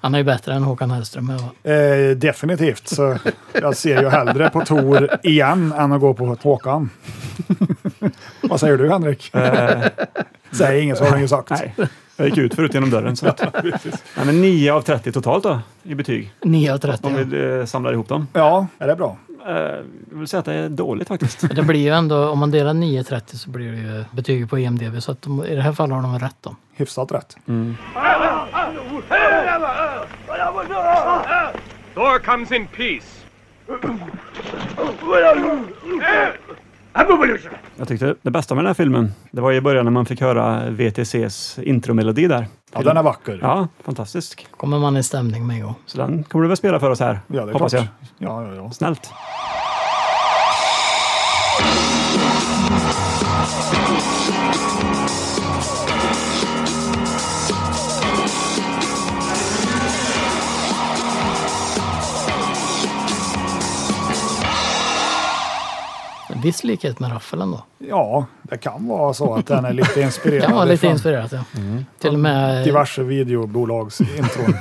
Speaker 4: Han är ju bättre än Håkan Hellström. Jag var.
Speaker 2: Eh, definitivt. Så jag ser ju hellre på Tor igen än att gå på Håkan. <laughs> Vad säger du Henrik? Säg inget så har han ju sagt.
Speaker 3: Eh.
Speaker 2: <laughs>
Speaker 3: Nej, jag gick ut förut genom dörren. Så att, Nej, men 9 av 30 totalt då, i betyg.
Speaker 4: 9 av
Speaker 3: Om
Speaker 4: 30.
Speaker 3: vi eh, samlar ihop dem.
Speaker 2: Ja, är det bra?
Speaker 3: Eh, jag vill säga att det är dåligt faktiskt.
Speaker 4: Det blir ju ändå, om man delar 9 av 30 så blir det ju betyg på E IMDB. Så att de, i det här fallet har de rätt då.
Speaker 2: Hyfsat rätt.
Speaker 3: Mm.
Speaker 10: Thor comes in peace.
Speaker 3: Jag tyckte det bästa med den här filmen, det var i början när man fick höra VTCs intromelodi där.
Speaker 2: Ja, den är vacker.
Speaker 3: Ja, fantastisk.
Speaker 4: Kommer man i stämning med en gång.
Speaker 3: Så den kommer du väl spela för oss här,
Speaker 2: Ja, det är
Speaker 3: hoppas
Speaker 2: klart.
Speaker 3: jag.
Speaker 2: Ja, ja, ja.
Speaker 3: Snällt.
Speaker 4: En viss likhet med Raffel ändå.
Speaker 2: ja, det kan vara så att den är Mm. lite inspirerad.
Speaker 4: Kan vara lite
Speaker 2: ifrån
Speaker 4: inspirerat <laughs> ja. Till och med...
Speaker 2: Diverse videobolags intron.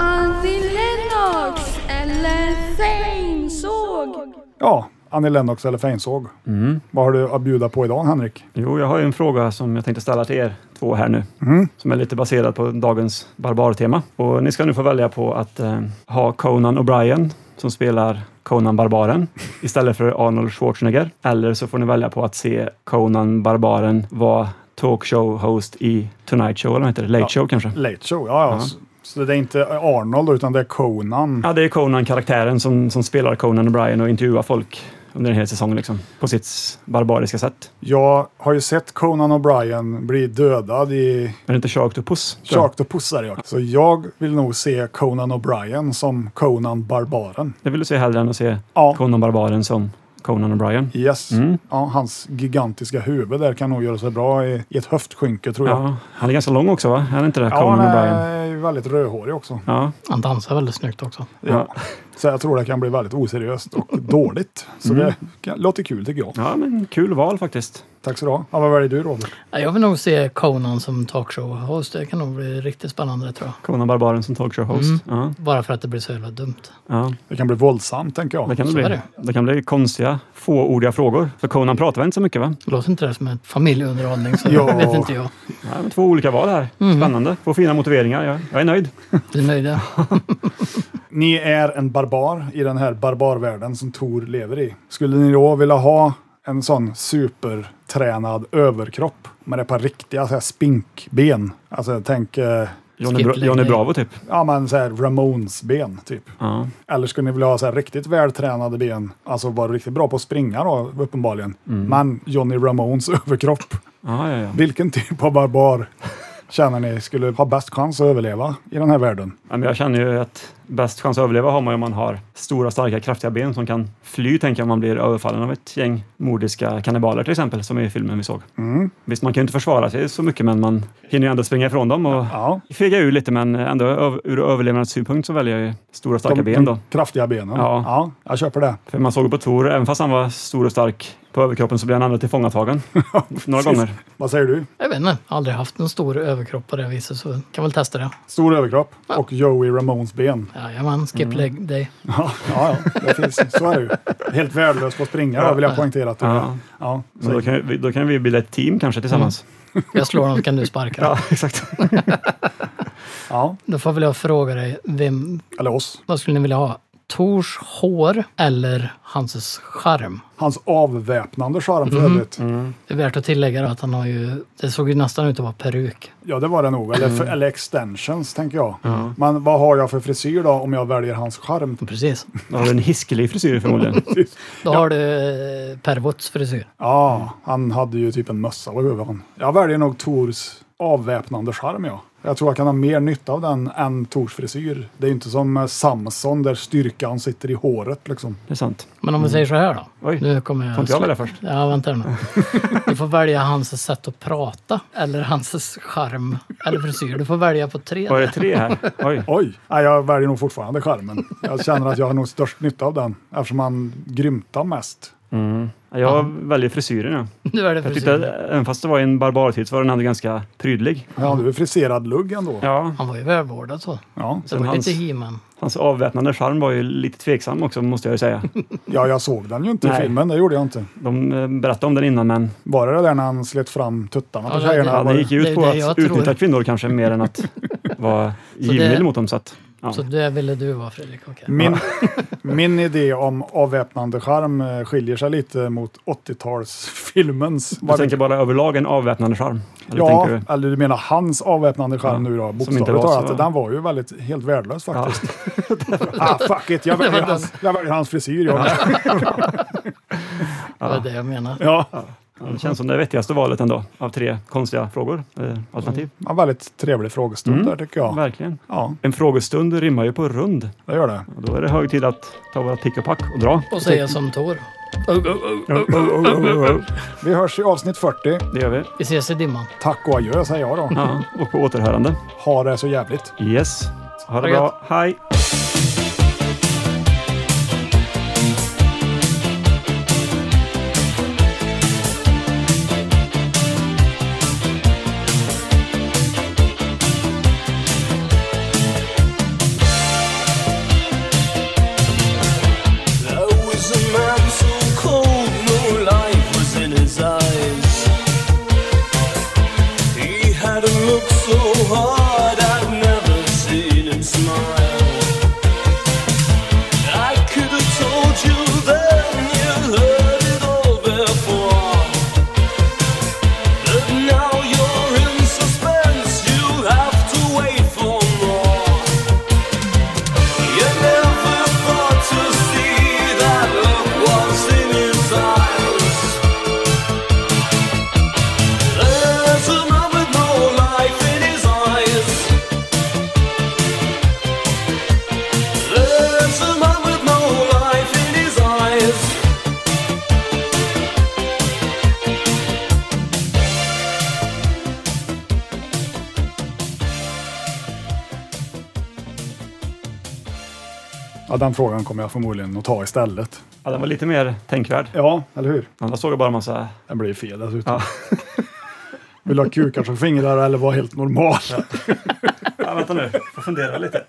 Speaker 5: Annie Lennox eller Feinsåg.
Speaker 2: Ja, Annie Lennox eller Feinsåg.
Speaker 3: Mm.
Speaker 2: Vad har du att bjuda på idag Henrik?
Speaker 3: Jo, jag har ju en fråga som jag tänkte ställa till er två här nu.
Speaker 2: Mm.
Speaker 3: Som är lite baserad på dagens barbartema. Och ni ska nu få välja på att eh, ha Conan O'Brien som spelar
Speaker 2: <laughs>
Speaker 3: Conan Barbaren istället för Arnold Schwarzenegger. Eller så får ni välja på att se Conan Barbaren vara talkshow-host i Tonight Show, eller vad heter det? Late Show kanske?
Speaker 2: Late Show, ja. ja. Så, så det är inte Arnold utan det är Conan.
Speaker 3: Ja, det är Conan-karaktären som, som spelar Conan O'Brien och intervjuar folk under en hel säsong liksom, på sitt barbariska sätt.
Speaker 2: Jag har ju sett Conan O'Brien bli dödad i
Speaker 3: Är det inte Sharktopus? tror jag?
Speaker 2: Shark the Pussar. Ja. Så jag vill nog se Conan O'Brien som Conan Barbaren.
Speaker 3: Det vill du se hellre än att se
Speaker 2: Ja.
Speaker 3: Conan Barbaren som Conan O'Brien.
Speaker 2: Yes.
Speaker 3: Mm.
Speaker 2: Ja, hans gigantiska huvud där kan nog göra sig bra i, i ett höftskynke tror jag.
Speaker 3: Ja, han är ganska lång också va? Han är inte det?
Speaker 2: Ja,
Speaker 3: Conan
Speaker 2: han
Speaker 3: O'Brien.
Speaker 2: är väldigt rödhårig också.
Speaker 3: Ja,
Speaker 4: Han dansar väldigt snyggt också.
Speaker 3: ja.
Speaker 2: Så jag tror det kan bli väldigt oseriöst
Speaker 3: <laughs>
Speaker 2: och dåligt. Så det
Speaker 3: Mm.
Speaker 2: kan, låter kul tycker jag.
Speaker 3: ja, men kul val faktiskt.
Speaker 2: Tack så du ha. Ja, vad väljer du Robert?
Speaker 4: Ja, Jag vill nog se Conan som talkshow-host. Det kan nog bli riktigt spännande det tror jag.
Speaker 3: Conan Barbaren som talkshow-host. Ja,
Speaker 4: Bara för att det blir så jävla dumt.
Speaker 3: ja.
Speaker 2: Det kan bli våldsamt tänker jag.
Speaker 3: Det, kan det,
Speaker 4: Så är
Speaker 3: bli.
Speaker 4: det.
Speaker 3: det kan bli konstiga, fåordiga frågor. För Conan pratar väl inte så mycket va?
Speaker 4: Låter inte det som en familjeunderhållning
Speaker 2: <laughs>
Speaker 4: så
Speaker 2: Ja.
Speaker 4: vet inte jag.
Speaker 3: Ja, men två olika val här.
Speaker 4: Mm.
Speaker 3: Spännande. Två fina motiveringar. Ja. Jag är nöjd.
Speaker 4: Du är nöjda?
Speaker 2: Ni är en barbar i den här barbarvärlden som Tor lever i. Skulle ni då vilja ha en sån supertränad överkropp med ett par riktiga så här, spinkben? Alltså tänk, eh,
Speaker 3: Johnny,
Speaker 4: Skip
Speaker 3: Bra-
Speaker 4: längre.
Speaker 3: Johnny Bravo typ.
Speaker 2: ja men så här Ramones-ben typ.
Speaker 3: Ja.
Speaker 2: Eller skulle ni vilja ha så här riktigt vältränade ben? Alltså vara riktigt bra på att springa då uppenbarligen.
Speaker 3: Mm.
Speaker 2: Men Johnny Ramones <laughs> överkropp.
Speaker 3: Ja, ja, ja.
Speaker 2: Vilken typ av barbar känner ni skulle ha bäst chans att överleva i den här världen?
Speaker 3: Ja, men jag känner ju att bäst chans att överleva har man ju om man har stora, starka, kraftiga ben som kan fly, tänker jag, om man blir överfallen av ett gäng mordiska kannibaler till exempel, som i filmen vi såg. Visst, man kan ju inte försvara sig så mycket, men man hinner ju ändå springa ifrån dem och
Speaker 2: Ja,
Speaker 3: fega ur lite, men ändå öv- ur överlevnadssynpunkt så väljer jag ju stora, starka ben då.
Speaker 2: kraftiga benen.
Speaker 3: Ja.
Speaker 2: ja, jag köper det.
Speaker 3: För man såg ju på Tor, även fast han var stor och stark på överkroppen så blev han ändå <laughs> tillfångatagen några gånger.
Speaker 2: Vad säger du?
Speaker 4: Jag vet inte. Aldrig haft en stor överkropp på det viset så kan väl testa det.
Speaker 2: Stor överkropp och Joey Ramones
Speaker 4: <laughs>
Speaker 2: ben.
Speaker 4: Jajamän, skip
Speaker 3: Mm.
Speaker 4: leg day.
Speaker 2: Ja, ja, ja, det finns, så är det ju. Helt värdelös på att springa då, vill jag poängtera. Att du,
Speaker 3: Ja. Mm.
Speaker 2: ja. Ja,
Speaker 3: Men då, kan, ju vi- då kan vi bilda ett team kanske tillsammans.
Speaker 4: Jag slår honom så kan du sparka.
Speaker 3: Mm. <laughs> Ja, exakt.
Speaker 2: ja,
Speaker 4: Då får väl jag fråga dig, vem,
Speaker 2: eller oss.
Speaker 4: vad skulle ni vilja ha? Tors hår eller Hanses charm?
Speaker 2: Hans avväpnande charm för övrigt.
Speaker 4: Det är värt att tillägga då att han har ju, det såg ju nästan ut att vara peruk.
Speaker 2: Ja, det var det nog. Eller, för, eller extensions, tänker jag. Men vad har jag för frisyr då om jag väljer hans charm?
Speaker 4: Precis.
Speaker 3: Då har du en hiskelig frisyr <laughs> förmodligen.
Speaker 4: Då har du eh, pervots frisyr.
Speaker 2: Ja, han hade ju typ en mössa på huvudet. han. Jag väljer nog Tors avväpnande charm, ja. Jag tror jag kan ha mer nytta av den än Tors frisyr. Det är ju inte som eh, Samson där styrkan sitter i håret liksom.
Speaker 3: Det är sant.
Speaker 4: Men om vi säger så här då.
Speaker 3: Mm. Oj,
Speaker 4: Nu kommer jag...
Speaker 3: Får inte jag välja först?
Speaker 4: Ja,
Speaker 3: <laughs>
Speaker 4: vänta nu. Du får välja hans sätt att prata eller hans charm eller frisyr. Du får välja på tre.
Speaker 3: Var det tre här? Oj.
Speaker 2: Oj! Nej, jag väljer nog fortfarande skärmen. Jag känner att jag har nog störst nytta av den eftersom han grymtar mest.
Speaker 3: Jag väljer frisyren. Ja.
Speaker 4: Nu är det
Speaker 3: Jag tyckte, att,
Speaker 4: frisyr.
Speaker 3: även fast det var i en barbartid så var den ändå ganska prydlig.
Speaker 2: Men han har ju friserad lugg ändå.
Speaker 3: Ja,
Speaker 4: Han var ju välvårdad så.
Speaker 2: Ja.
Speaker 4: Så
Speaker 3: Men
Speaker 4: det var
Speaker 3: hans-
Speaker 4: lite He-Man.
Speaker 3: hans avväpnande charm var ju lite tveksam också måste jag ju säga.
Speaker 2: ja, jag såg den ju inte
Speaker 3: Nej.
Speaker 2: i filmen. Det gjorde jag inte.
Speaker 3: De eh, berättade om den innan men
Speaker 2: Var det det där när han slet fram tuttarna på
Speaker 4: Ja, det-
Speaker 2: tjejerna?
Speaker 3: ja,
Speaker 2: Var
Speaker 3: det
Speaker 2: det-
Speaker 3: gick ju
Speaker 4: det
Speaker 3: ut på
Speaker 4: är det
Speaker 3: att
Speaker 4: jag tror.
Speaker 3: utnyttja kvinnor kanske mer än att vara givmild mot dem. Så att, ja. Mm.
Speaker 4: Så det ville du vara Fredrik? Okej.
Speaker 2: Min, <laughs> min idé om avväpnande charm eh, skiljer sig lite mot 80-talsfilmens.
Speaker 3: Du tänker bara överlag en avväpnande charm? Eller
Speaker 2: ja,
Speaker 3: tänker du?
Speaker 2: eller du menar hans avväpnande charm
Speaker 3: Ja,
Speaker 2: nu då,
Speaker 3: som
Speaker 2: bokstavligt
Speaker 3: inte var så-
Speaker 2: talat. Den var ju väldigt, helt värdelös faktiskt.
Speaker 3: <laughs>
Speaker 2: ah, fuck it, jag väljer, hans, jag väljer hans frisyr. Jag.
Speaker 4: Det var det jag menade.
Speaker 2: Ja.
Speaker 3: Ja, Det känns som det vettigaste valet ändå av tre konstiga frågor. eh, Alternativ.
Speaker 2: En väldigt trevlig frågestund där tycker jag.
Speaker 3: Verkligen.
Speaker 2: Mm. Ja,
Speaker 3: En frågestund rimmar ju på rund.
Speaker 2: det gör det.
Speaker 3: Och då är det hög tid att ta våra tick och pack och dra.
Speaker 4: Och säga som Tor.
Speaker 2: Vi hörs i avsnitt 40.
Speaker 3: Det gör vi.
Speaker 4: Vi ses i dimman.
Speaker 2: Tack och adjö säger jag då.
Speaker 3: Ja, och på återhörande.
Speaker 2: Ha det så jävligt.
Speaker 3: Yes. Ha det
Speaker 4: Ha det
Speaker 3: bra. Hej!
Speaker 7: There was a man so cold, no light was in his eyes. He had a look so hard, I'd never seen him smile. I could have told you then, you heard it all before. But now you're in suspense, you have to wait for more. You never thought to see that look was in his
Speaker 2: Ja, den frågan kommer jag förmodligen att ta istället.
Speaker 3: Ja, den var lite mer tänkvärd.
Speaker 2: Ja, eller hur?
Speaker 3: Annars såg jag bara en massa...
Speaker 2: Den blir fel dessutom. <laughs> Vill du ha kukar som fingrar eller vara helt normal?
Speaker 3: Ja, vänta nu, får fundera lite.